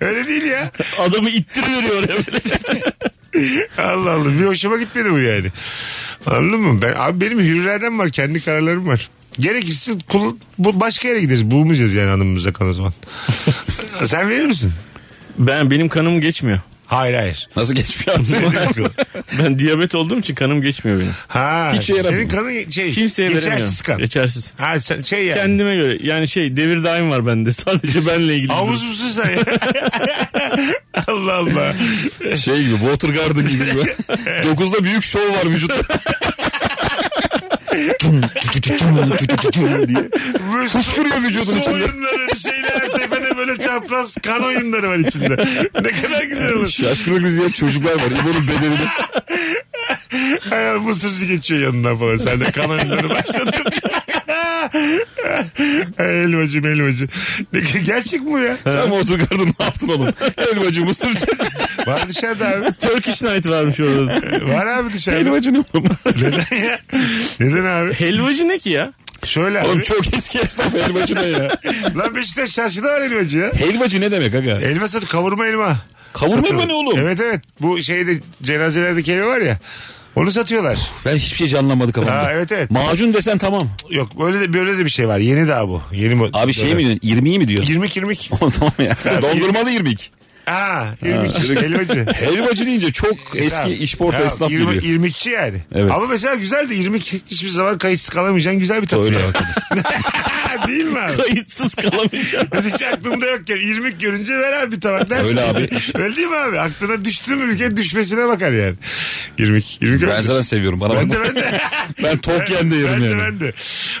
Öyle değil ya.
Adamı ittiriveriyor oraya.
Allah Allah. Bir hoşuma gitmedi bu yani. Anladın mı? Ben, abi benim hürriyeden var. Kendi kararlarım var. Gerekirse kul- bu başka yere gideriz. Bulmayacağız yani hanımımıza kan o
<laughs>
zaman. Sen verir misin?
Ben benim
<laughs>
kanım geçmiyor.
Hayır hayır.
Nasıl geçmiyor
Ne
<laughs> abi?
demek o?
Ben diyabet olduğum için kanım geçmiyor benim.
ha,
Hiçe yaramıyor.
senin kanın şey,
Kimseye veremiyorum.
geçersiz kan.
Geçersiz.
Ha, sen, şey yani.
Kendime göre yani şey devir daim var bende. <laughs> Sadece benle ilgili.
Havuz
durum.
musun sen ya? <laughs> Allah Allah.
Şey gibi Water Garden gibi.
<laughs>
böyle. Dokuzda büyük şov var vücutta. Tum, tü tü tü tum, tü tü tü tum diye.
Böyle su-
<laughs> Fışkırıyor vücudun
su
içinde.
oyunları bir şeyler tepede böyle çapraz kan oyunları var içinde.
<laughs>
ne kadar güzel olur.
Şaşkınlık izleyen çocuklar var. İbo'nun bedenini.
Hayal mısırcı geçiyor yanına falan. Sen de kan oyunları başladın. <laughs> Ay, elmacım elmacım. Ne- Gerçek mi bu ya?
Sen Water Garden ne yaptın oğlum? Elmacı mısır.
Var dışarıda abi.
Turkish Night varmış orada.
Var abi dışarıda.
Elmacı ne oğlum?
Neden ya? Neden abi?
Helvacı ne ki ya?
Şöyle
Oğlum
abi.
çok eski esnaf helvacı ne ya?
Lan Beşiktaş çarşıda var elmacı ya.
Helvacı ne demek aga?
Elma satıyor kavurma elma.
Kavurma
Satıyor.
mı ne oğlum?
Evet evet. Bu şeyde cenazelerdeki evi var ya. Onu satıyorlar.
Ben hiçbir şey canlanmadı kafamda.
Ha, evet, evet.
Macun desen tamam.
Yok böyle de böyle de bir şey var. Yeni daha bu. Yeni bu.
Abi şey mi diyorsun? 20'yi mi diyorsun?
20 kirmik.
Oğlum tamam ya. Dondurmalı 22.
Aa, irmik işte elmacı.
Helvacı deyince çok eski işporta esnaf
irmik,
geliyor.
İrmikçi yani.
Evet.
Ama mesela güzel de irmik hiçbir zaman kayıtsız kalamayacağın güzel bir tatlı.
Öyle hakikaten.
Ha, <laughs> Değil mi abi?
Kayıtsız kalamayacağım.
Biz hiç aklımda yokken irmik görünce ver abi bir tabak dersin.
Öyle abi.
<laughs> Öyle değil mi abi? Aklına düştü mü bir kere düşmesine bakar yani. İrmik. irmik
Ben
öyle.
zaten seviyorum. Bana
Ben
bak.
de ben de.
<laughs> Ben Tokyen'de yerim
ben de,
yani.
ben de.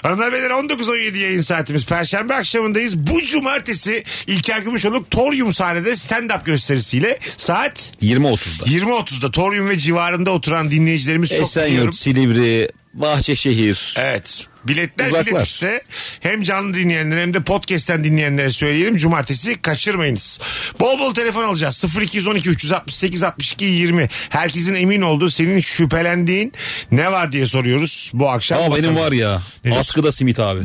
Hanımlar beyler 19.17 yayın saatimiz. Perşembe akşamındayız. Bu cumartesi İlker Gümüşoluk Torium sahnede stand-up gösterisiyle saat
20-30'da.
20.30'da Torium ve civarında oturan dinleyicilerimiz çok
Esenyurt,
biliyorum.
Silivri, Bahçeşehir.
Evet. Biletler
Uzaklar.
bilet işte. Hem canlı dinleyenlere hem de podcast'ten dinleyenlere söyleyelim. Cumartesi kaçırmayınız. Bol bol telefon alacağız. 0212 368 62 20. Herkesin emin olduğu senin şüphelendiğin ne var diye soruyoruz bu akşam.
Ama benim
Bakalım.
var ya.
Nedir?
Askıda simit abi.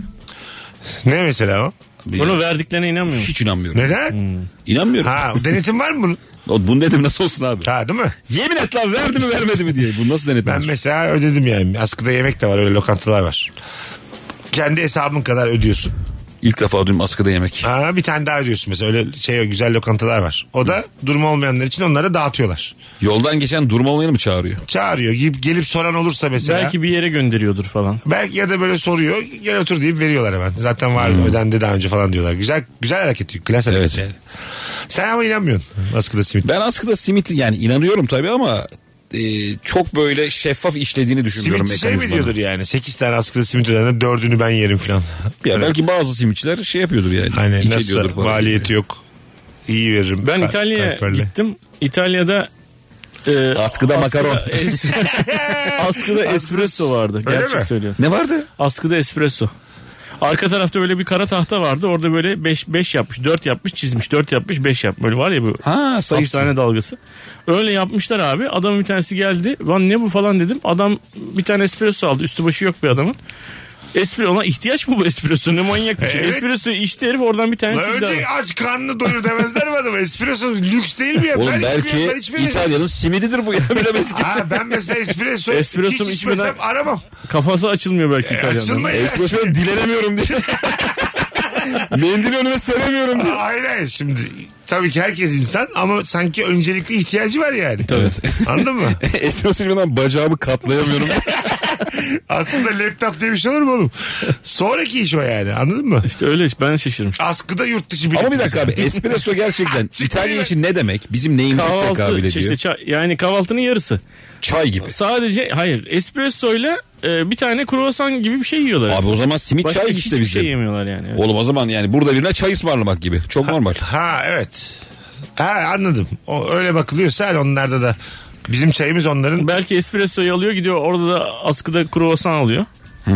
Ne mesela o?
Bunu verdiklerine inanmıyorum.
Hiç inanmıyorum.
Neden?
İnanmıyorum.
Ha denetim var mı bunun?
<laughs> O- Bunu dedim nasıl olsun abi?
Ha değil mi?
Yemin et lan verdi mi vermedi mi diye. Bu nasıl
Ben
denetlenir?
mesela ödedim yani. Askıda yemek de var öyle lokantalar var. Kendi hesabın kadar ödüyorsun.
İlk defa dün askıda yemek.
Ha, bir tane daha ödüyorsun mesela öyle şey güzel lokantalar var. O da durumu olmayanlar için onlara dağıtıyorlar.
Yoldan geçen durma olmayanı mı çağırıyor?
çağırıyor. Gelip, gelip soran olursa mesela. Belki...
Belki bir yere gönderiyordur falan.
ya da böyle soruyor. Gel otur deyip veriyorlar hemen. Zaten vardı ödendi daha önce falan diyorlar. Güzel güzel hareket. Klas hareket
Evet.
yani. Sen ama inanmıyorsun. Askıda simit.
Ben askıda simit yani inanıyorum tabii ama e, çok böyle şeffaf işlediğini düşünmüyorum
Simitçi şey mi
mekanizmanın.
diyordur yani? 8 tane askıda simit ödenen 4'ünü ben yerim falan.
Ya belki bazı simitçiler şey yapıyordur yani.
Hani
iki
nasıl
parayı.
maliyeti yok. İyi veririm.
Ben
Ka-
İtalya'ya
kalperle.
gittim. İtalya'da e,
Askıda makaron.
<laughs>
es- askıda espresso vardı.
Öyle
Gerçek
mi?
söylüyorum.
Ne vardı?
Askıda espresso. Arka tarafta böyle bir kara tahta vardı. Orada böyle 5 5 yapmış, 4 yapmış, çizmiş, 4 yapmış, 5 yapmış. Böyle var ya bu
Ha sayısı.
hapishane dalgası. Öyle yapmışlar abi. Adamın bir tanesi geldi. Lan ne bu falan dedim. Adam bir tane espresso aldı. Üstü başı yok bir adamın. Espresso ona ihtiyaç mı bu espresso? Ne manyak bir şey.
Evet.
Espresso içti herif oradan bir
Lan
tanesi daha.
önce aç karnını doyur demezler mi adama? Espresso lüks değil mi ya?
Oğlum
ben
belki
içmiyorum, ben içmiyorum.
İtalya'nın simididir bu ya <laughs> bilemez ki.
Ha, ben mesela espresso,
Espresso'm
hiç
içmeden-
içmesem aramam.
Kafası açılmıyor belki
E,
İtalyan'ın.
açılmayı
Espresso dilenemiyorum diye. Mendili önüme
<laughs>
seremiyorum diye.
Hayır hayır şimdi tabii ki herkes insan ama sanki öncelikli ihtiyacı var yani.
Evet.
<laughs> Anladın mı?
Espresso içmeden bacağımı katlayamıyorum.
Aslında laptop diye bir şey olur mu oğlum? Sonraki iş o yani anladın mı?
İşte öyle ben şaşırmıştım.
Askıda yurt dışı bir
Ama bir dakika abi espresso gerçekten İtalya için ne demek? Bizim neyimize tekabül
Kahvaltı
ediyor?
işte çay- yani kahvaltının yarısı.
Çay gibi.
Sadece hayır espressoyla e, bir tane kruvasan gibi bir şey yiyorlar.
Abi o zaman simit
Başka
çay işte
hiçbir
bizim.
şey yemiyorlar yani. Evet.
Oğlum o zaman yani burada birine çay ısmarlamak gibi. Çok normal.
Ha evet. Ha anladım. O öyle bakılıyorsa hani onlarda da bizim çayımız onların.
Belki espressoyu alıyor gidiyor orada da askıda kruvasan alıyor.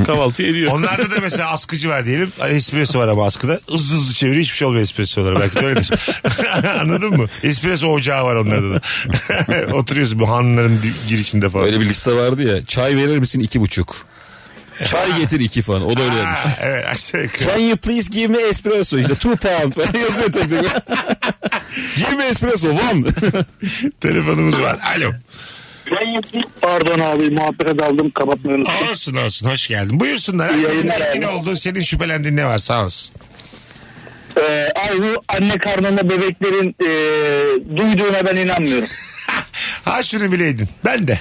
Kahvaltı ediyor.
Onlarda da mesela askıcı var diyelim. Espresso var ama askıda. Hızlı hızlı çeviriyor hiçbir şey olmuyor espressolara. Belki de öyledir. <laughs> Anladın mı? Espresso ocağı var onlarda da. <laughs> Oturuyorsun bu hanların girişinde falan.
şey
Öyle bir liste vardı ya. Çay verir misin iki buçuk. Çay getir iki falan. O da öyle
Ha,
yapmış.
evet aşağı yukarı.
Can you please give me espresso? İşte two pound falan <laughs> yazıyor tek tek. give me espresso <laughs> one.
Telefonumuz var. Alo.
Pardon abi muhabbete daldım kapatmayın.
Olsun olsun hoş geldin. Buyursunlar.
İyi yayınlar
Senin
abi.
oldu senin şüphelendiğin ne var sağ olsun.
Ee, abi bu anne karnında bebeklerin e, duyduğuna ben inanmıyorum.
Ha şunu bileydin. Ben de.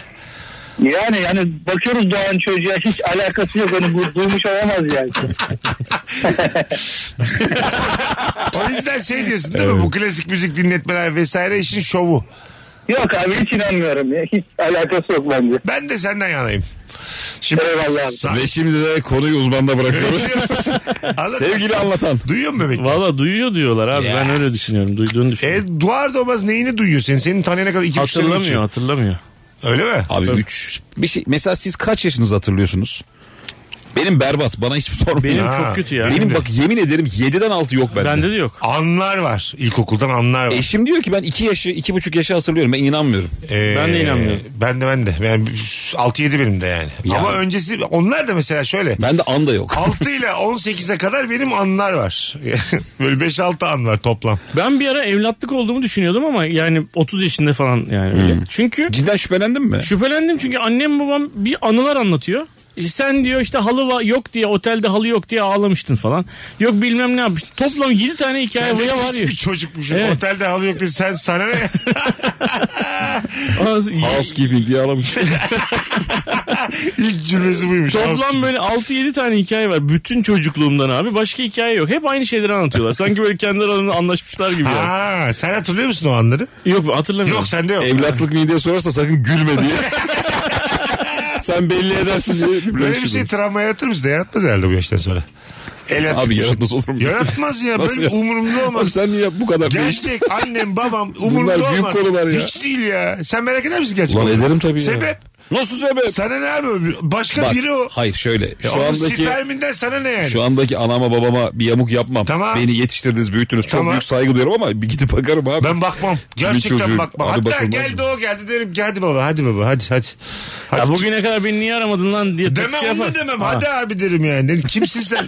Yani yani bakıyoruz doğan çocuğa hiç alakası yok hani bu duymuş olamaz yani.
O yüzden şey diyorsun değil mi? Bu klasik müzik dinletmeler vesaire işin şovu.
Yok abi hiç inanmıyorum ya. Hiç alakası yok bence.
Ben de senden yanayım. Şimdi
Eyvallah abi.
Sa-
Ve şimdi de konuyu uzmanda bırakıyoruz.
<laughs> Anladın mı?
<laughs> Sevgili anlatan.
Duyuyor musun bebek?
Valla duyuyor diyorlar abi.
Ya.
Ben öyle düşünüyorum. Duyduğunu
E,
düşünüyorum.
duvar doğmaz neyini duyuyor senin? Senin tanıyana kadar iki buçuk sene
hatırlamıyor
geçiyor.
hatırlamıyor.
Öyle mi?
Abi üç. Bir şey, mesela siz kaç yaşınızı hatırlıyorsunuz? Benim berbat. Bana hiç sormayın.
Benim
Benim,
çok kötü ya.
benim de.
bak yemin ederim 7'den altı yok bende.
Bende de yok.
Anlar var. İlkokuldan anlar var.
E,
Eşim diyor ki ben 2 yaşı, 2,5 yaşı hatırlıyorum. Ben inanmıyorum.
Ee,
Ben de inanmıyorum.
Ben de ben de. Yani 6-7 benim de yani.
Ya.
Ama öncesi onlar da mesela
<laughs>
şöyle.
Bende an da yok.
6 ile 18'e kadar benim anlar var. <laughs> Böyle 5-6 an var toplam.
Ben bir ara evlatlık olduğumu düşünüyordum ama yani 30 yaşında falan yani öyle. Çünkü
Cidden şüphelendin mi?
Şüphelendim çünkü annem babam bir anılar anlatıyor. İşte Sen diyor işte halı va- yok diye otelde halı yok diye ağlamıştın falan. Yok bilmem ne yapmıştın. Toplam 7 tane hikaye buraya var ya.
Bir çocukmuşum.
Evet.
Otelde halı yok dedi. Sen sana ne? <laughs>
Az-
Housekeeping diye alamış.
İlk cümlesi buymuş.
<laughs> Toplam böyle 6-7 tane hikaye var. Bütün çocukluğumdan abi. Başka hikaye yok. Hep aynı şeyleri anlatıyorlar. Sanki böyle kendi aralarında anlaşmışlar gibi. yani.
Ha, sen hatırlıyor musun o anları?
Yok hatırlamıyorum.
Yok sende yok.
<laughs> Evlatlık mı diye sorarsa sakın
<laughs>
gülme diye. Sen belli edersin diye. bir
Böyle bir
şey
şey travma yaratır mısın? Yaratmaz herhalde bu yaştan sonra. El attık.
Abi yaratmaz olur mu? <laughs>
Yaratmaz ya.
Nasıl
Böyle
ya?
umurumda
Bak
olmaz.
sen niye bu kadar değiştin?
Gerçek annem babam umurumda
Bunlar büyük
olmaz.
konular ya.
Hiç değil ya. Sen merak eder misin gerçek
Ulan
olanı?
ederim tabii ya.
Sebep?
Nasıl sebep?
Sana ne abi? öbür- Başka
Bak,
biri o.
Hayır şöyle. Şu
Onun
andaki
sperminden sana ne yani?
şu andaki anama babama bir yamuk yapmam.
Tamam.
Beni yetiştirdiniz, büyüttünüz. Çok
Tamam.
büyük saygı duyuyorum ama bir gidip bakarım abi.
Ben bakmam. Gerçekten
çocuğu-
bakmam.
Abi
Hatta
bakılmaz
geldi
mı?
o geldi derim ki hadi baba hadi baba hadi hadi. hadi.
Ya bugüne kadar beni niye aramadın lan diye
Demem
şey
tepki
onu da
yapar.
demem.
Ha.
Hadi abi derim yani. Derim, Kimsin
<laughs>
sen?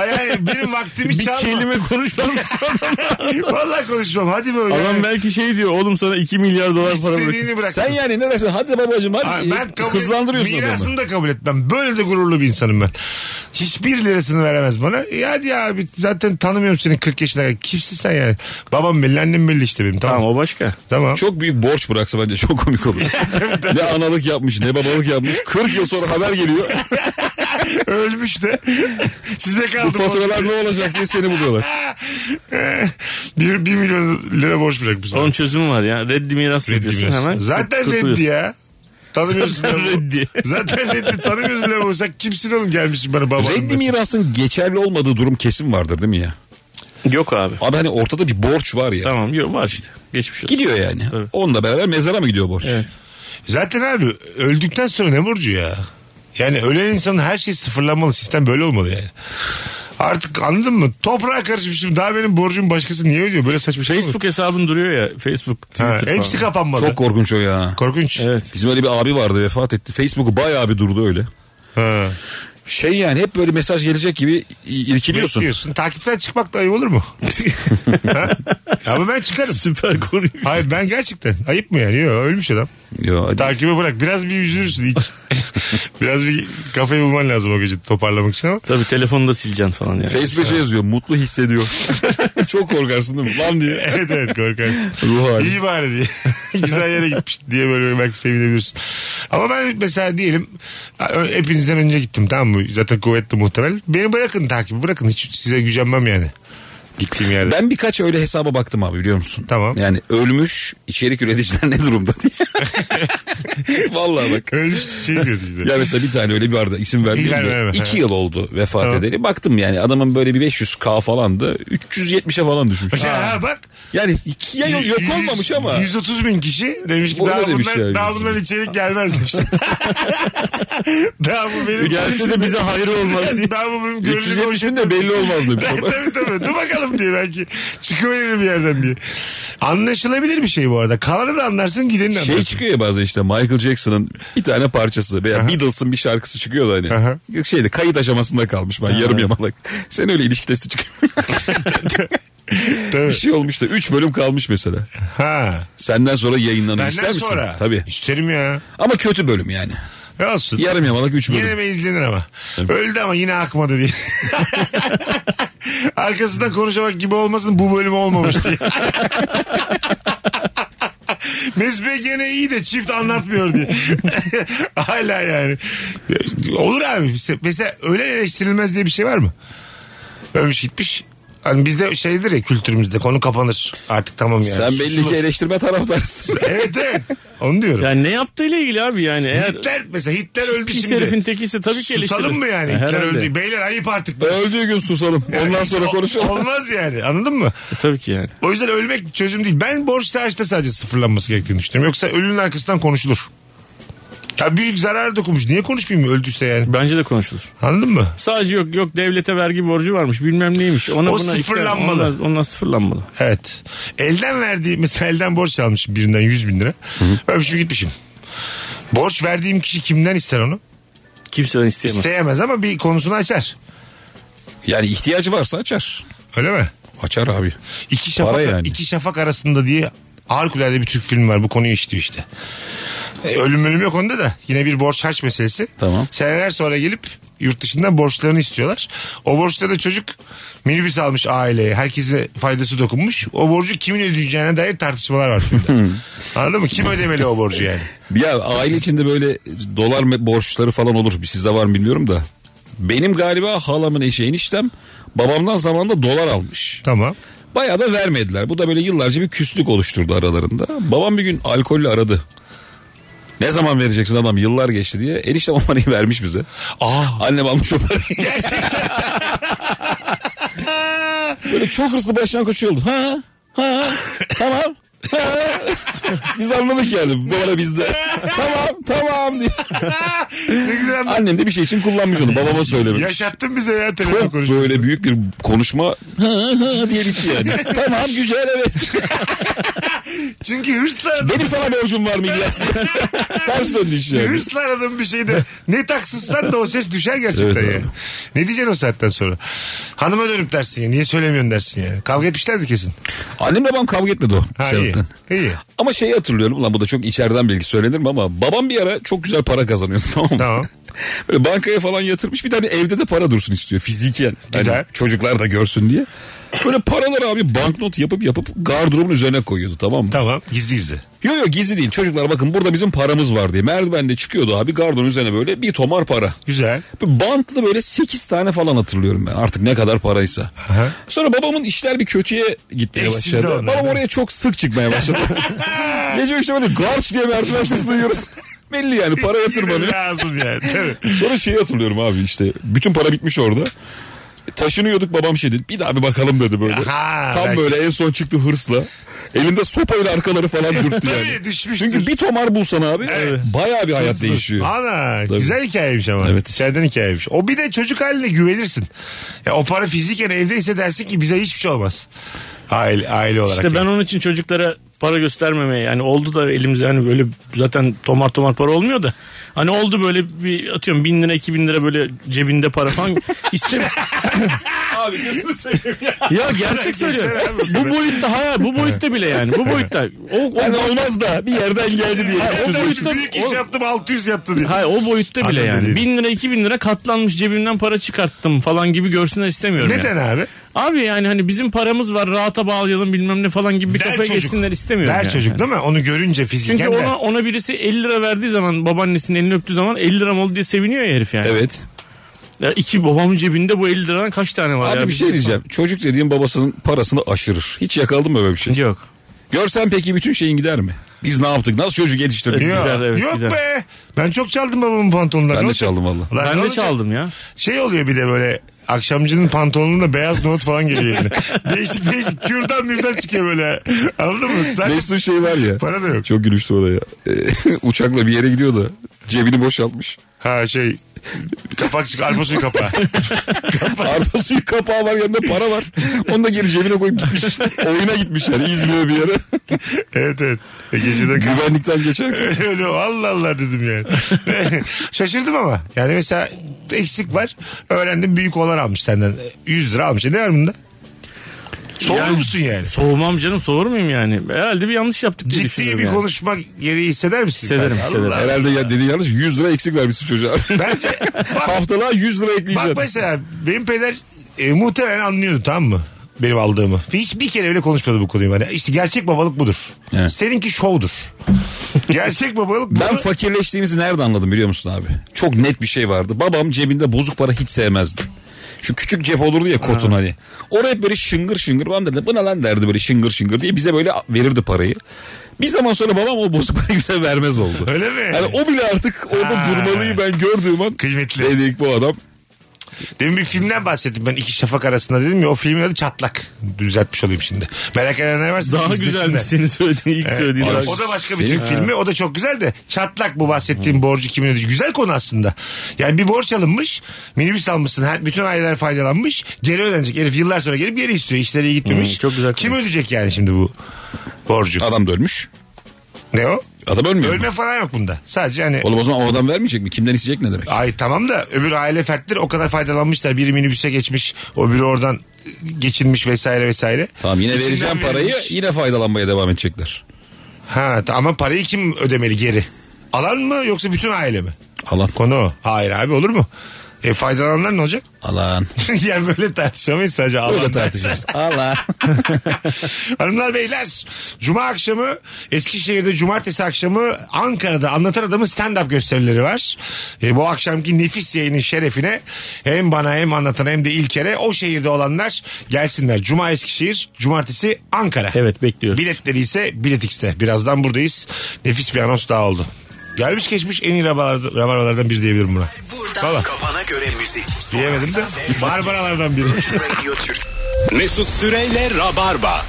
Ay, ay, benim vaktimi
Bir
çalma.
kelime
<laughs>
konuşmamışsın adamla.
Vallahi konuşmam. Hadi böyle.
Adam belki şey diyor oğlum sana 2 milyar dolar para bırak.
İstediğini bırak.
Sen yani ne dersin? Hadi babacığım hadi.
Abi ben kabul
Hızlandırıyorsun adamı.
mirasını da kabul etmem. Böyle de gururlu bir insanım ben. Hiçbir lirasını veremez bana. E hadi abi zaten tanımıyorum seni 40 yaşına kadar. Kimsin sen yani? Babam belli annem belli işte benim. Tamam.
Tamam o başka.
Tamam.
Çok büyük borç bıraksa bence çok komik
<laughs>
olur. ne analık yapmış ne babalık yapmış. 40 yıl sonra haber
<laughs>
geliyor.
<laughs> Ölmüş de. <laughs> Size kaldı.
Bu faturalar ne olacak diye seni buluyorlar.
bir, bir milyon lira borç bırakmış.
Onun çözümü var ya. Reddi miras
Reddi
yapıyorsun
biraz.
hemen.
Zaten <laughs>
kurtuluyorsun.
reddi ya. Tanımıyorsun
Zaten
lan bu.
reddi.
Zaten reddi tanımıyorsun lan bu. Sen kimsin oğlum gelmişsin bana babanın.
Reddi
desin.
mirasın geçerli olmadığı durum kesin vardır değil mi ya?
<laughs> Yok abi.
Abi hani ortada bir borç var ya.
Tamam yok var işte. Geçmiş olsun.
Gidiyor yani.
Tabii.
Onunla beraber mezara mı gidiyor borç?
Zaten abi öldükten sonra ne burcu ya? Yani ölen insanın her şeyi sıfırlanmalı. Sistem böyle olmalı yani. Artık anladın mı? Toprağa karışmışım. Daha benim borcum başkası niye ödüyor? Böyle saçma şey mi olur?
Facebook hesabın duruyor ya. Facebook, Twitter
Ha, e-
falan.
hepsi kapanmalı.
Çok korkunç o ya.
Korkunç. <laughs>
Evet.
Bizim öyle bir abi vardı vefat etti. Facebook'u bayağı bir durdu öyle.
Ha.
Şey yani hep böyle mesaj gelecek gibi i- irkiliyorsun.
Bekliyorsun. Takipten çıkmak da ayıp olur
<laughs>
mu? ha? Ama ben çıkarım.
Süper konuyu.
Hayır ben gerçekten. Ayıp mı yani? Yok ölmüş adam.
Yo, hadi.
Takibi bırak. Biraz bir üzülürsün ilk. <laughs> Biraz bir kafayı bulman lazım o gece toparlamak için ama.
Tabii telefonu da sileceksin falan yani.
Facebook'a şey yazıyor mutlu
<laughs>
hissediyor. Çok korkarsın değil mi? Lan diye.
<laughs> Evet evet korkarsın.
Ruh hali.
İyi bari
<laughs>
diye. Güzel yere gitmiş diye böyle belki sevinebilirsin. Ama ben mesela diyelim hepinizden önce gittim tamam mı? Zaten kuvvetli muhtemel. Beni bırakın takibi bırakın. Hiç size gücenmem yani. Gittiğim yerde.
Ben birkaç öyle hesaba baktım abi biliyor musun?
Tamam.
Yani ölmüş içerik üreticiler ne durumda
<laughs>
diye. Vallahi bak.
Öyle bir şey diyordu işte.
Ya mesela bir tane öyle bir vardı isim
İyi, verme,
vermeyeyim
verme.
de. İki yıl oldu vefat
Tamam.
edeli. Baktım yani adamın böyle bir 500k falandı. 370'e falan düşmüş.
Ya ha bak.
Yani iki yıl yok
yüz-
olmamış ama.
130 bin kişi demiş ki
Bu
daha,
ne demiş
bundan,
ya,
daha
130 bin?
bundan içerik gelmez
<laughs>
demiş. daha bu benim.
Gelse de <laughs> bize hayır olmaz diye.
daha bu benim gönlüm
370 bin de belli olmaz demiş
<laughs>
ama.
tabii tabii. Dur bakalım diye belki. Çıkıverir bir yerden diye. Anlaşılabilir bir şey bu arada. Kalanı da anlarsın gideni de anlarsın.
Şey çıkıyor ya bazen işte Michael Jackson'ın bir tane parçası veya Beatles'ın bir şarkısı çıkıyor da hani. Şeyde kayıt aşamasında kalmış ben yarım yamalak. Sen öyle ilişki testi çıkıyor. <laughs>
Tabii.
bir şey olmuş da 3 bölüm kalmış mesela.
Ha.
Senden sonra yayınlanır
Benden
ister misin?
sonra.
Tabii.
İsterim ya.
Ama kötü bölüm yani.
E olsun.
Yarım yamalak 3 bölüm.
Yine mi izlenir ama. Öldü ama yine akmadı diye. Arkasından konuşamak gibi olmasın bu bölüm olmamış diye. Mesut Bey gene iyi de çift anlatmıyor diye. Hala yani. Olur abi. Mesela öyle eleştirilmez diye bir şey var mı? Ölmüş gitmiş. Hani bizde şeydir ya kültürümüzde konu kapanır. Artık tamam yani.
Sen belli
Susulur.
ki
<laughs>
eleştirme taraftarısın.
Evet evet. Onu diyorum.
Yani ne yaptığıyla ilgili abi yani. Eğer
Hitler mesela Hitler öldü
pis
şimdi.
herifin tekiyse tabii ki eleştirir.
Susalım mı yani?
E,
Hitler
herhalde.
öldü. Beyler ayıp artık.
Öldüğü gün susalım. Ondan sonra
Hiç o-
konuşalım.
Olmaz yani anladın mı?
E, tabii ki yani.
O yüzden ölmek çözüm değil. Ben borç tercihte sadece sıfırlanması gerektiğini düşünüyorum. Yoksa ölünün arkasından konuşulur. Ya büyük zarar dokunmuş. Niye konuşmayayım öldüyse yani?
Bence de konuşulur.
Anladın mı?
Sadece yok yok devlete vergi borcu varmış bilmem neymiş. Ona
O
buna işte,
sıfırlanmalı.
Ona, ona sıfırlanmalı.
Evet. Elden verdiği mesela elden borç almış birinden 100 bin lira. Öpmüşüm gitmişim. Borç verdiğim kişi kimden ister onu?
Kimseden isteyemez.
İsteyemez ama bir konusunu açar.
Yani ihtiyacı varsa açar.
Öyle mi?
Açar abi.
İki şafak,
Para yani.
iki şafak arasında diye harikulade bir Türk filmi var. Bu konuyu işliyor işte. E, ölüm ölüm yok onda da. Yine bir borç harç meselesi.
Tamam.
Seneler sonra gelip yurt dışından borçlarını istiyorlar. O borçta da çocuk minibüs almış aileye. Herkese faydası dokunmuş. O borcu kimin ödeyeceğine dair tartışmalar var
Hmm.
filmde. Anladın mı? Kim ödemeli o borcu yani?
Ya aile içinde böyle dolar me- borçları falan olur. Sizde var mı bilmiyorum da. Benim galiba halamın eşi eniştem babamdan zamanında dolar almış.
Tamam.
Bayağı da vermediler. Bu da böyle yıllarca bir küslük oluşturdu aralarında. Babam bir gün alkollü aradı. Ne zaman vereceksin adam yıllar geçti diye. Eniştem o parayı <laughs> vermiş bize.
Aa.
Annem almış
<laughs>
o parayı. şey böyle çok hırslı baştan koşuyordu. Ha ha tamam. Ha. Biz anladık yani. Bu ara bizde. tamam tamam diye.
ne güzel.
Annem de bir şey için kullanmış onu. Babama söylemiş.
Yaşattın bize ya telefon
Çok
konuşması.
böyle büyük bir konuşma "Hı hı" diye bitti yani.
<laughs>
tamam güzel evet.
Çünkü hırsla
Benim sana borcum var mı
<laughs>
İlyas diye. Ters döndü iş yani.
hırsla aradığım bir şeyde ne taksızsan da o ses düşer gerçekten
Evet,
yani. Ne diyeceksin o saatten sonra? Hanıma dönüp dersin ya. Niye söylemiyorsun dersin yani. Kavga etmişlerdi kesin.
Annemle babam kavga etmedi o.
Ha iyi.
sebepten.
İyi.
Ama şeyi hatırlıyorum lan bu da çok içeriden bilgi söylenir mi ama babam bir ara çok güzel para kazanıyordu <laughs> tamam mı?
Tamam.
Böyle bankaya falan yatırmış bir tane evde de para dursun istiyor fiziken. Hani
Güzel.
çocuklar da görsün diye. Böyle paraları abi banknot yapıp yapıp gardırobun üzerine koyuyordu tamam mı?
Tamam. Gizli gizli.
Yo yo gizli değil çocuklar bakın burada bizim paramız var diye. Merdivenle çıkıyordu abi gardırobun üzerine böyle bir tomar para.
Güzel.
Bir Bantlı böyle 8 tane falan hatırlıyorum ben artık ne kadar paraysa.
hı.
Sonra babamın işler bir kötüye gitmeye
Eksildi
başladı.
onlar,
Babam
değil mi?
oraya çok sık
<laughs>
çıkmaya başladı. Gece işte böyle garç diye merdiven sesi duyuyoruz.
<laughs>
Belli yani para yatırmanı.
Lazım yani. Tabii.
Sonra şeyi hatırlıyorum abi işte bütün para bitmiş orada. Taşınıyorduk babam şey dedi bir daha bir bakalım dedi böyle.
Aha,
Tam
belki.
böyle en son çıktı hırsla. Elinde sopayla arkaları falan
<laughs>
dürttü
Tabii,
yani.
düşmüştür.
Çünkü bir tomar bulsan abi bayağı bir <laughs> hayat değişiyor.
Ana
Tabii.
güzel hikayeymiş ama.
Evet.
İçeriden hikayeymiş. O bir de çocuk haline güvenirsin. Ya o para fiziken evdeyse dersin ki bize hiçbir şey olmaz. Aile, aile olarak.
İşte ben onun için çocuklara para göstermemeye yani oldu da elimize hani böyle zaten tomar tomar para olmuyor da hani oldu böyle bir atıyorum bin lira iki bin lira böyle cebinde
<laughs>
para falan istemiyorum.
Abi gözünü seveyim ya.
ya gerçek söylüyorum. bu boyutta hayır bu boyutta bile yani bu boyutta. O, o,
Yani olmaz da bir yerden geldi diye.
Hayır, <laughs> o
Çocuk-
boyutta büyük iş
O-
yaptım 600 yaptı diye.
hayır, o boyutta bile
Anladım
yani.
dediğini.
Bin lira iki bin lira katlanmış cebimden para çıkarttım falan gibi görsünler istemiyorum. yani.
Neden abi?
Abi yani hani bizim paramız var rahata bağlayalım bilmem ne falan gibi bir
Der
kafaya
çocuk.
geçsinler istemiyorum.
Der
yani.
çocuk değil mi? Onu görünce fiziken
Çünkü
de.
ona, ona birisi 50 lira verdiği zaman babaannesinin elini öptüğü zaman 50 liram oldu diye seviniyor ya herif yani.
Evet.
Ya iki babamın cebinde bu 50 liradan kaç tane var?
Abi
ya?
bir şey diyeceğim. Çocuk dediğin babasının parasını aşırır. Hiç yakaladın mı böyle bir şey?
Yok.
Görsen peki bütün şeyin gider mi? Biz ne yaptık? Nasıl çocuk yetiştirdik?
Yok,
Gider, evet,
yok
gider.
be. Ben çok çaldım babamın pantolonundan.
Ben
Ne
de
olacak?
çaldım valla.
Lan ne
Ben de
olacak?
çaldım ya.
Şey oluyor bir de böyle akşamcının pantolonunda beyaz not falan geliyor eline. <laughs> değişik değişik kürdan mürdan çıkıyor böyle. Anladın mı? Sen
Mesut'un şey var ya.
Para da yok.
Çok gülüştü oraya. E, <laughs> Uçakla bir yere gidiyor da cebini boşaltmış.
Ha şey kapak çık arpa suyu
<laughs>
kapağı.
Arpa suyu kapağı var yanında para var. Onu da geri cebine koyup gitmiş. Oyuna gitmiş yani İzmir'e bir
<laughs>
yere.
evet evet. E, geceden
Güvenlikten
<laughs>
geçerken.
Öyle Allah Allah dedim yani. <laughs> Şaşırdım ama. Yani mesela eksik var. Öğrendim büyük olan almış senden. 100 lira almış. E, Ne var bunda? Soğur musun yani?
Soğumam canım soğur muyum yani? Herhalde bir yanlış yaptık diye
Ciddi
düşünüyorum
bir
yani.
konuşma yeri hisseder misin?
Hissederim,
Allah
hissederim.
Allah.
Herhalde ya dediği yanlış 100 lira eksik
<laughs>
vermişsin çocuğa.
Bence bak,
Haftalığa 100 lira
bak
ekleyeceksin.
mesela benim peder e, muhtemelen anlıyordu tamam mı? Benim aldığımı. Hiç bir kere bile konuşmadı bu konuyu. Yani işte gerçek babalık budur.
Evet.
Seninki şovdur. gerçek babalık budur.
Ben fakirleştiğimizi nerede anladım biliyor musun abi? Çok net bir şey vardı. Babam cebinde bozuk para hiç sevmezdi. Şu küçük cep olurdu ya kotun hani. Oraya hep böyle şıngır şıngır. Babam dedi bu ne lan derdi böyle şıngır şıngır diye bize böyle verirdi parayı. Bir zaman sonra babam o bozuk parayı bize vermez oldu.
Öyle mi?
Yani o bile artık orada
Ha.
durmalıyı ben gördüğüm an.
Kıymetli.
Dedik bu adam.
Demin bir filmden bahsettim ben iki şafak arasında dedim ya o filmin adı Çatlak. Düzeltmiş olayım şimdi. Merak edenler varsa
Daha
izlesinler.
güzel bir senin söylediğin ilk söylediğin.
Abi,
daha
O
güzel.
da başka bir
Senin-
Türk filmi. O da çok güzel de. Çatlak bu bahsettiğim borcu kimin ödeyecek? Güzel konu aslında. Yani bir borç alınmış. Minibüs almışsın. Her, bütün aileler faydalanmış. Geri ödenecek. Herif yıllar sonra gelip geri istiyor. İşleri iyi gitmemiş.
Hı, çok güzel
Kim
konu.
ödeyecek yani şimdi bu borcu?
Adam da ölmüş.
Ne o?
Adam ölmüyor mu?
Ölme falan yok bunda. Sadece hani...
Oğlum o zaman o adam vermeyecek mi? Kimden isteyecek ne demek?
Ay tamam da öbür aile fertleri o kadar faydalanmışlar. Biri minibüse geçmiş, öbürü oradan geçinmiş vesaire vesaire.
Tamam yine
İçinden
vereceğim parayı
verilmiş.
yine faydalanmaya devam edecekler.
Ha t- ama parayı kim ödemeli geri? Alan mı yoksa bütün aile mi?
Alan.
Konu o. Hayır abi olur mu? E faydalananlar ne olacak? <laughs>
Alan.
yani böyle tartışamayız sadece alan
Öyle
dersen.
tartışıyoruz. Alan.
<laughs> Hanımlar beyler Cuma akşamı Eskişehir'de Cumartesi akşamı Ankara'da Anlatan Adam'ın stand-up gösterileri var. E, bu akşamki nefis yayının şerefine hem bana hem anlatana hem de İlker'e o şehirde olanlar gelsinler. Cuma Eskişehir, Cumartesi Ankara.
Evet bekliyoruz.
Biletleri ise Bilet X'te. Birazdan buradayız. Nefis bir anons daha oldu. Gelmiş geçmiş en iyi rabarbalardan rabarbalardan biri diyebilirim buna. Valla
Kafana göre müzik.
diyemedim de barbaralardan biri.
Mesut Süreyle Rabarba.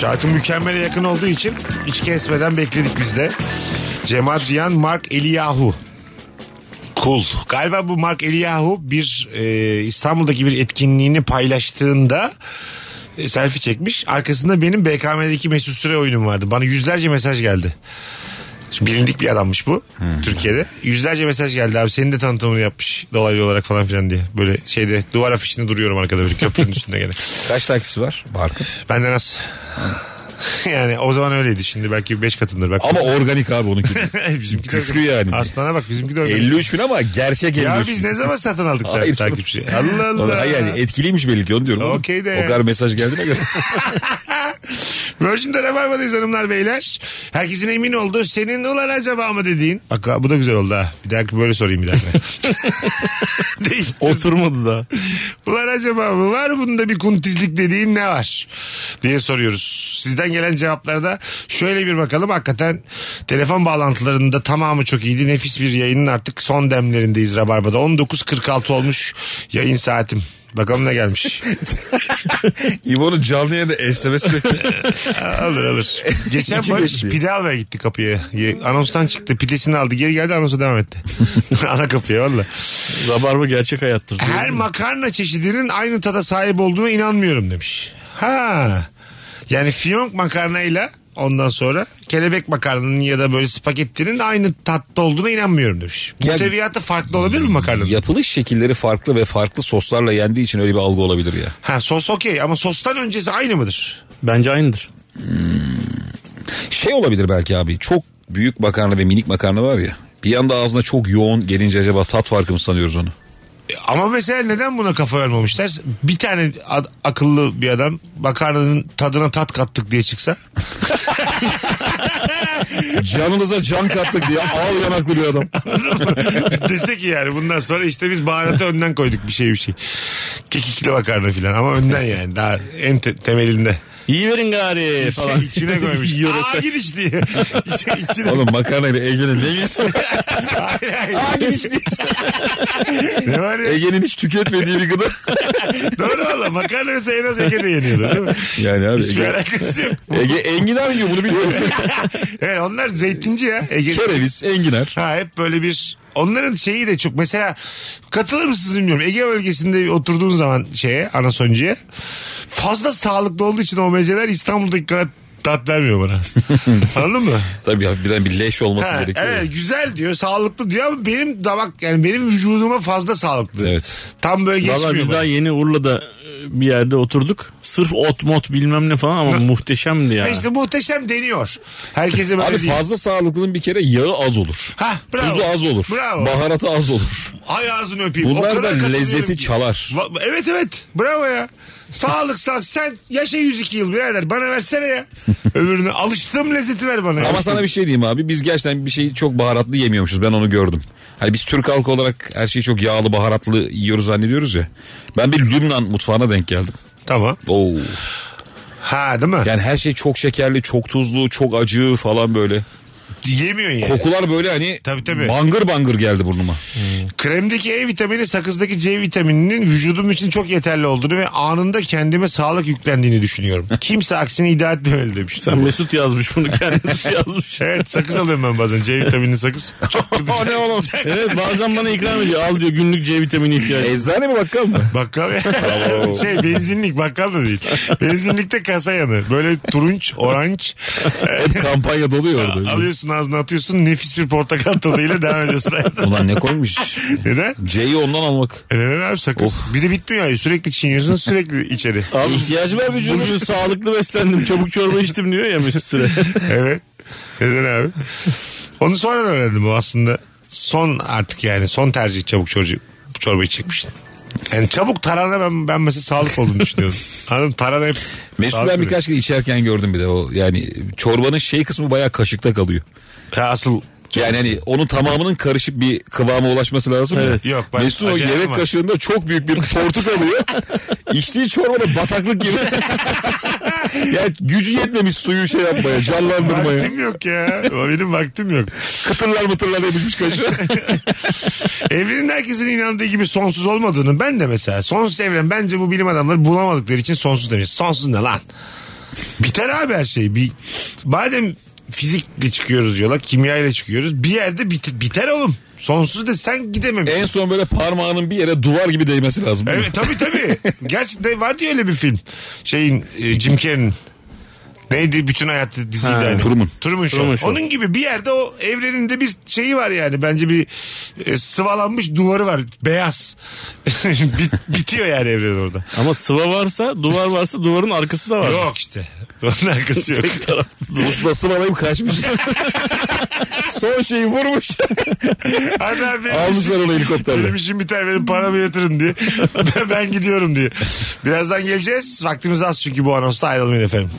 Şarkı mükemmele yakın olduğu için hiç kesmeden bekledik biz de. Cem Adrian, Mark Eliyahu. Cool. Galiba bu Mark Eliyahu bir e, İstanbul'daki bir etkinliğini paylaştığında e, selfie çekmiş. Arkasında benim BKM'deki Mesut Süre oyunum vardı. Bana yüzlerce mesaj geldi. Şimdi bilindik bir adammış bu Türkiye'de. Yüzlerce mesaj geldi abi senin de tanıtımını yapmış dolaylı olarak falan filan diye. Böyle şeyde duvar afişinde duruyorum arkada bir köprünün üstünde gene.
Kaç takipçisi var Barkın?
Benden az. <laughs> yani o zaman öyleydi şimdi belki 5 katımdır. Belki
Ama organik abi onunki. de.
<laughs> bizimki de-
küfrü yani.
Aslana bak bizimki de öyle.
53 bin ama gerçek 53
Ya
bin.
biz ne zaman satın aldık sen
Hayır.
takipçi? <laughs> Allah Allah.
Hayır yani etkiliymiş belli ki onu diyorum. oğlum.
Okey de.
O kadar mesaj geldi
<laughs>
ne göre.
Virgin'de Rabarba'dayız hanımlar beyler. Herkesin emin oldu. Senin ulan acaba mı dediğin. Bak bu da güzel oldu ha. Bir dahaki böyle sorayım bir dahaki. Değişti. <laughs>
Oturmadı da.
Ulan acaba mı? Var bunda bir kuntizlik dediğin ne var? Diye soruyoruz. Sizden gelen cevaplarda şöyle bir bakalım. Hakikaten telefon bağlantılarında tamamı çok iyiydi. Nefis bir yayının artık son demlerindeyiz Rabarba'da. 19.46 olmuş yayın saatim. Bakalım ne gelmiş.
İbo'nun canlı yayında SMS bekliyor.
<laughs> alır alır. Geçen
İçim
Barış
geçti.
pide almaya gitti kapıya. Ye- Anonstan çıktı pidesini aldı geri geldi anonsa devam <laughs> etti. Ana kapıya valla.
<laughs> Rabarba gerçek hayattır.
Her makarna çeşidinin aynı tada sahip olduğuna inanmıyorum demiş. Ha. Yani fiyonk makarnayla ondan sonra kelebek makarnanın ya da böyle spagettinin aynı tatta olduğuna inanmıyorum demiş.
Ya-
Muhteviyatı farklı olabilir mi makarnanın?
Yapılış şekilleri farklı ve farklı soslarla yendiği için öyle bir algı olabilir ya.
Ha sos okey ama sostan öncesi aynı mıdır?
Bence aynıdır.
Şey olabilir belki abi çok büyük makarna ve minik makarna var ya. Bir anda ağzına çok yoğun gelince acaba tat farkı mı sanıyoruz onu?
E, Ama mesela neden buna kafa vermemişler? Bir tane ad- akıllı bir adam makarnanın tadına tat kattık diye çıksa.
Canınıza can kattık diye al yanaklı bir adam.
<laughs> Dese ki yani bundan sonra işte biz baharatı önden koyduk bir şey bir şey. Kekikli makarna filan ama önden yani daha en te- temelinde.
İyi verin
E
gari
Şey,
falan.
içine
<laughs>
<laughs>
koymuş. Aa giriş diye. İşte içine.
Oğlum makarnayla Ege'nin ne ilgisi?
Hayır, hayır. Ne var ya?
Ege'nin hiç tüketmediği bir gıda. <laughs>
Doğru valla makarna mesela en az Ege'de yeniyordu değil mi?
Yani abi
Hiçbir
Ege,
alakası yok.
Ege enginar yiyor bunu
<laughs>
biliyor musun?
Evet, onlar zeytinci ya. Ege'de.
Kereviz, enginar.
Ha hep böyle bir onların şeyi de çok mesela katılır mısınız bilmiyorum. Ege bölgesinde oturduğun zaman şeye Anasonca'ya fazla sağlıklı olduğu için o mezeler İstanbul'daki kadar tat vermiyor
<laughs>
bana. Anladın mı?
Tabii hafiften bir leş olması
Ha,
gerekiyor.
evet, güzel diyor, sağlıklı diyor ama benim damak yani benim vücuduma fazla sağlıklı.
Evet.
Tam böyle
Valla
geçmiyor.
biz
bana.
daha yeni Urla'da e, bir yerde oturduk. Sırf ot mot bilmem ne falan ama muhteşemdi ya.
Ha, işte muhteşem deniyor. Herkese böyle
Abi
değil.
fazla sağlıklının bir kere yağı az olur.
Ha, bravo.
Tuzu az olur.
Bravo.
Baharatı az olur.
Ay ağzını öpeyim.
Bunlar
O kadar
da
katılıyorum
lezzeti
ki.
çalar.
Va- Evet evet. Bravo ya. Sağlık sağlık. Sen yaşa 102 yıl birader. Bana versene
<laughs>
ya. Öbürünü. Alıştığım lezzeti ver bana. ya.
Ama sana bir şey diyeyim abi. Biz gerçekten bir şeyi çok baharatlı yemiyormuşuz. Ben onu gördüm. Hani biz Türk halkı olarak her şeyi çok yağlı baharatlı yiyoruz zannediyoruz ya. Ben bir Lübnan mutfağına denk geldim.
Tamam.
Oo.
Ha değil mi?
Yani her şey çok şekerli, çok tuzlu, çok acı falan böyle.
Yemiyorsun yani.
Kokular böyle hani
Tabii, tabii.
bangır bangır geldi burnuma.
Kremdeki E vitamini sakızdaki C vitamininin vücudum için çok yeterli olduğunu ve anında kendime sağlık yüklendiğini
<laughs>
düşünüyorum. Kimse aksini iddia etmemeli demiş.
Sen Mesut yazmış bunu kendisi yazmış.
Evet sakız alıyorum ben bazen. C vitamini
<laughs>
sakız. Çok
o ne oğlum?
Evet bazen bana ikram ediyor. Al diyor günlük C vitamini ihtiyacı.
Eczane mi bakkal mı?
Bakkal ya. şey benzinlik bakkal da değil. Benzinlikte kasa yanı. Böyle turunç, oranj.
Hep kampanya doluyor orada.
Alıyorsun ağzına atıyorsun nefis bir portakal
<laughs>
tadıyla devam ediyorsun hayata.
Ulan ne koymuş?
Neden?
C'yi ondan almak.
E Neden abi sakız? Bir de bitmiyor ya sürekli çiğniyorsun sürekli
<laughs>
içeri.
Abi, İhtiyacı var vücudum. Bugün sağlıklı beslendim. Çabuk çorba içtim diyor ya Mesut Süre.
Evet. Neden abi? Onu sonradan öğrendim bu aslında. Son artık yani son tercih çabuk çorba, çorba içecekmiştin. Yani çabuk tarhana ben, ben mesela sağlık
<laughs>
olduğunu düşünüyorum. Anladın mı? tarhana hep
Mesut
sağlık
ben
ürün.
birkaç kere içerken gördüm bir de o yani çorbanın şey kısmı bayağı kaşıkta kalıyor.
Ha, asıl
yani hani onun tamamının karışıp bir kıvama ulaşması lazım
Evet.
ya.
Yok, ben
Mesut o
acayip
yemek
var.
kaşığında çok büyük bir tortu
<laughs>
kalıyor. İçtiği çorba da bataklık gibi. yani gücü yetmemiş suyu şey yapmaya, canlandırmaya.
Vaktim yok ya. Benim vaktim yok.
Kıtırlar mıtırlar demiş kaşığı.
Evrenin herkesin inandığı gibi sonsuz olmadığını ben de mesela sonsuz evren bence bu bilim adamları bulamadıkları için sonsuz demiş. Sonsuz ne lan? Biter abi her şey. Bir, madem fizikle çıkıyoruz yola, kimyayla çıkıyoruz. Bir yerde bit- biter oğlum. Sonsuz da sen gidememiş.
En son böyle parmağının bir yere duvar gibi değmesi lazım.
Evet tabii tabii. Gerçekten vardı ya öyle bir film. Şeyin e, Jim Carrey'in Neydi bütün hayatı diziydi
Ha,
yani.
Truman.
Truman Show.
Truman Show.
Onun gibi bir yerde o evreninde bir şeyi var yani. Bence bir e, sıvalanmış duvarı var. Beyaz. <laughs> Bit- bitiyor yani evren orada.
Ama sıva varsa duvar varsa duvarın arkası da var. <laughs>
Yok işte. Onun arkası yok.
Tek taraflı duvar.
Ustası balayıp kaçmış. son şeyi vurmuş.
Hadi abi benim
Almışlar
işim-
onu helikopterle.
Benim işim biter benim paramı yatırın diye. <laughs> Ben- ben gidiyorum diye. Birazdan geleceğiz. Vaktimiz az çünkü bu anonsta ayrılmayın efendim.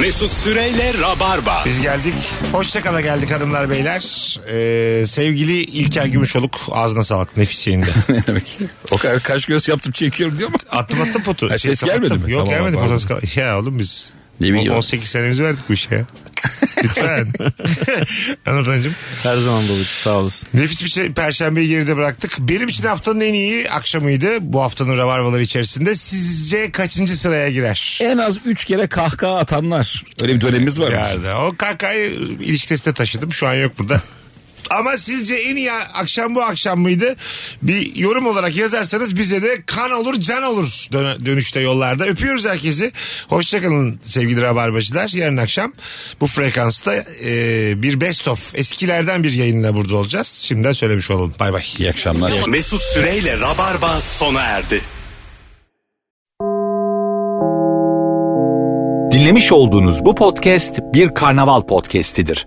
Mesut Süreyle Rabarba.
Biz geldik. Hoşçakala geldik hanımlar beyler. Ee, sevgili İlker Gümüşoluk ağzına sağlık nefis
<laughs>
yayında.
<laughs> ne demek? O kadar kaş göz yaptım çekiyorum diyor mu?
Attım attım potu.
Ha, ses gelmedi
kapattım.
mi?
Yok
Tamam,
gelmedi
pardon.
potu. Kal- Ya oğlum biz
Ne bileyim.
on- 18 senemizi verdik bu işe
<laughs>
ya. Lütfen. <laughs> Anlatancım.
Her zaman babacığım sağ olasın.
Nefis bir şey, perşembeyi geride bıraktık. Benim için haftanın en iyi akşamıydı. Bu haftanın ravarmaları içerisinde. Sizce kaçıncı sıraya girer?
En az 3 kere kahkaha atanlar. Öyle bir dönemimiz var.
Yani o kakayı ilişkisine taşıdım. Şu an yok burada. Ama sizce en iyi akşam bu akşam mıydı? Bir yorum olarak yazarsanız bize de kan olur can olur dön- dönüşte yollarda. Öpüyoruz herkesi. Hoşçakalın sevgili rabarbacılar. Yarın akşam bu frekansta e, bir best of eskilerden bir yayınla burada olacağız. Şimdiden söylemiş olalım. Bay bay.
İyi akşamlar.
Mesut Süreyle Rabarba sona erdi.
Dinlemiş olduğunuz bu podcast bir karnaval podcastidir.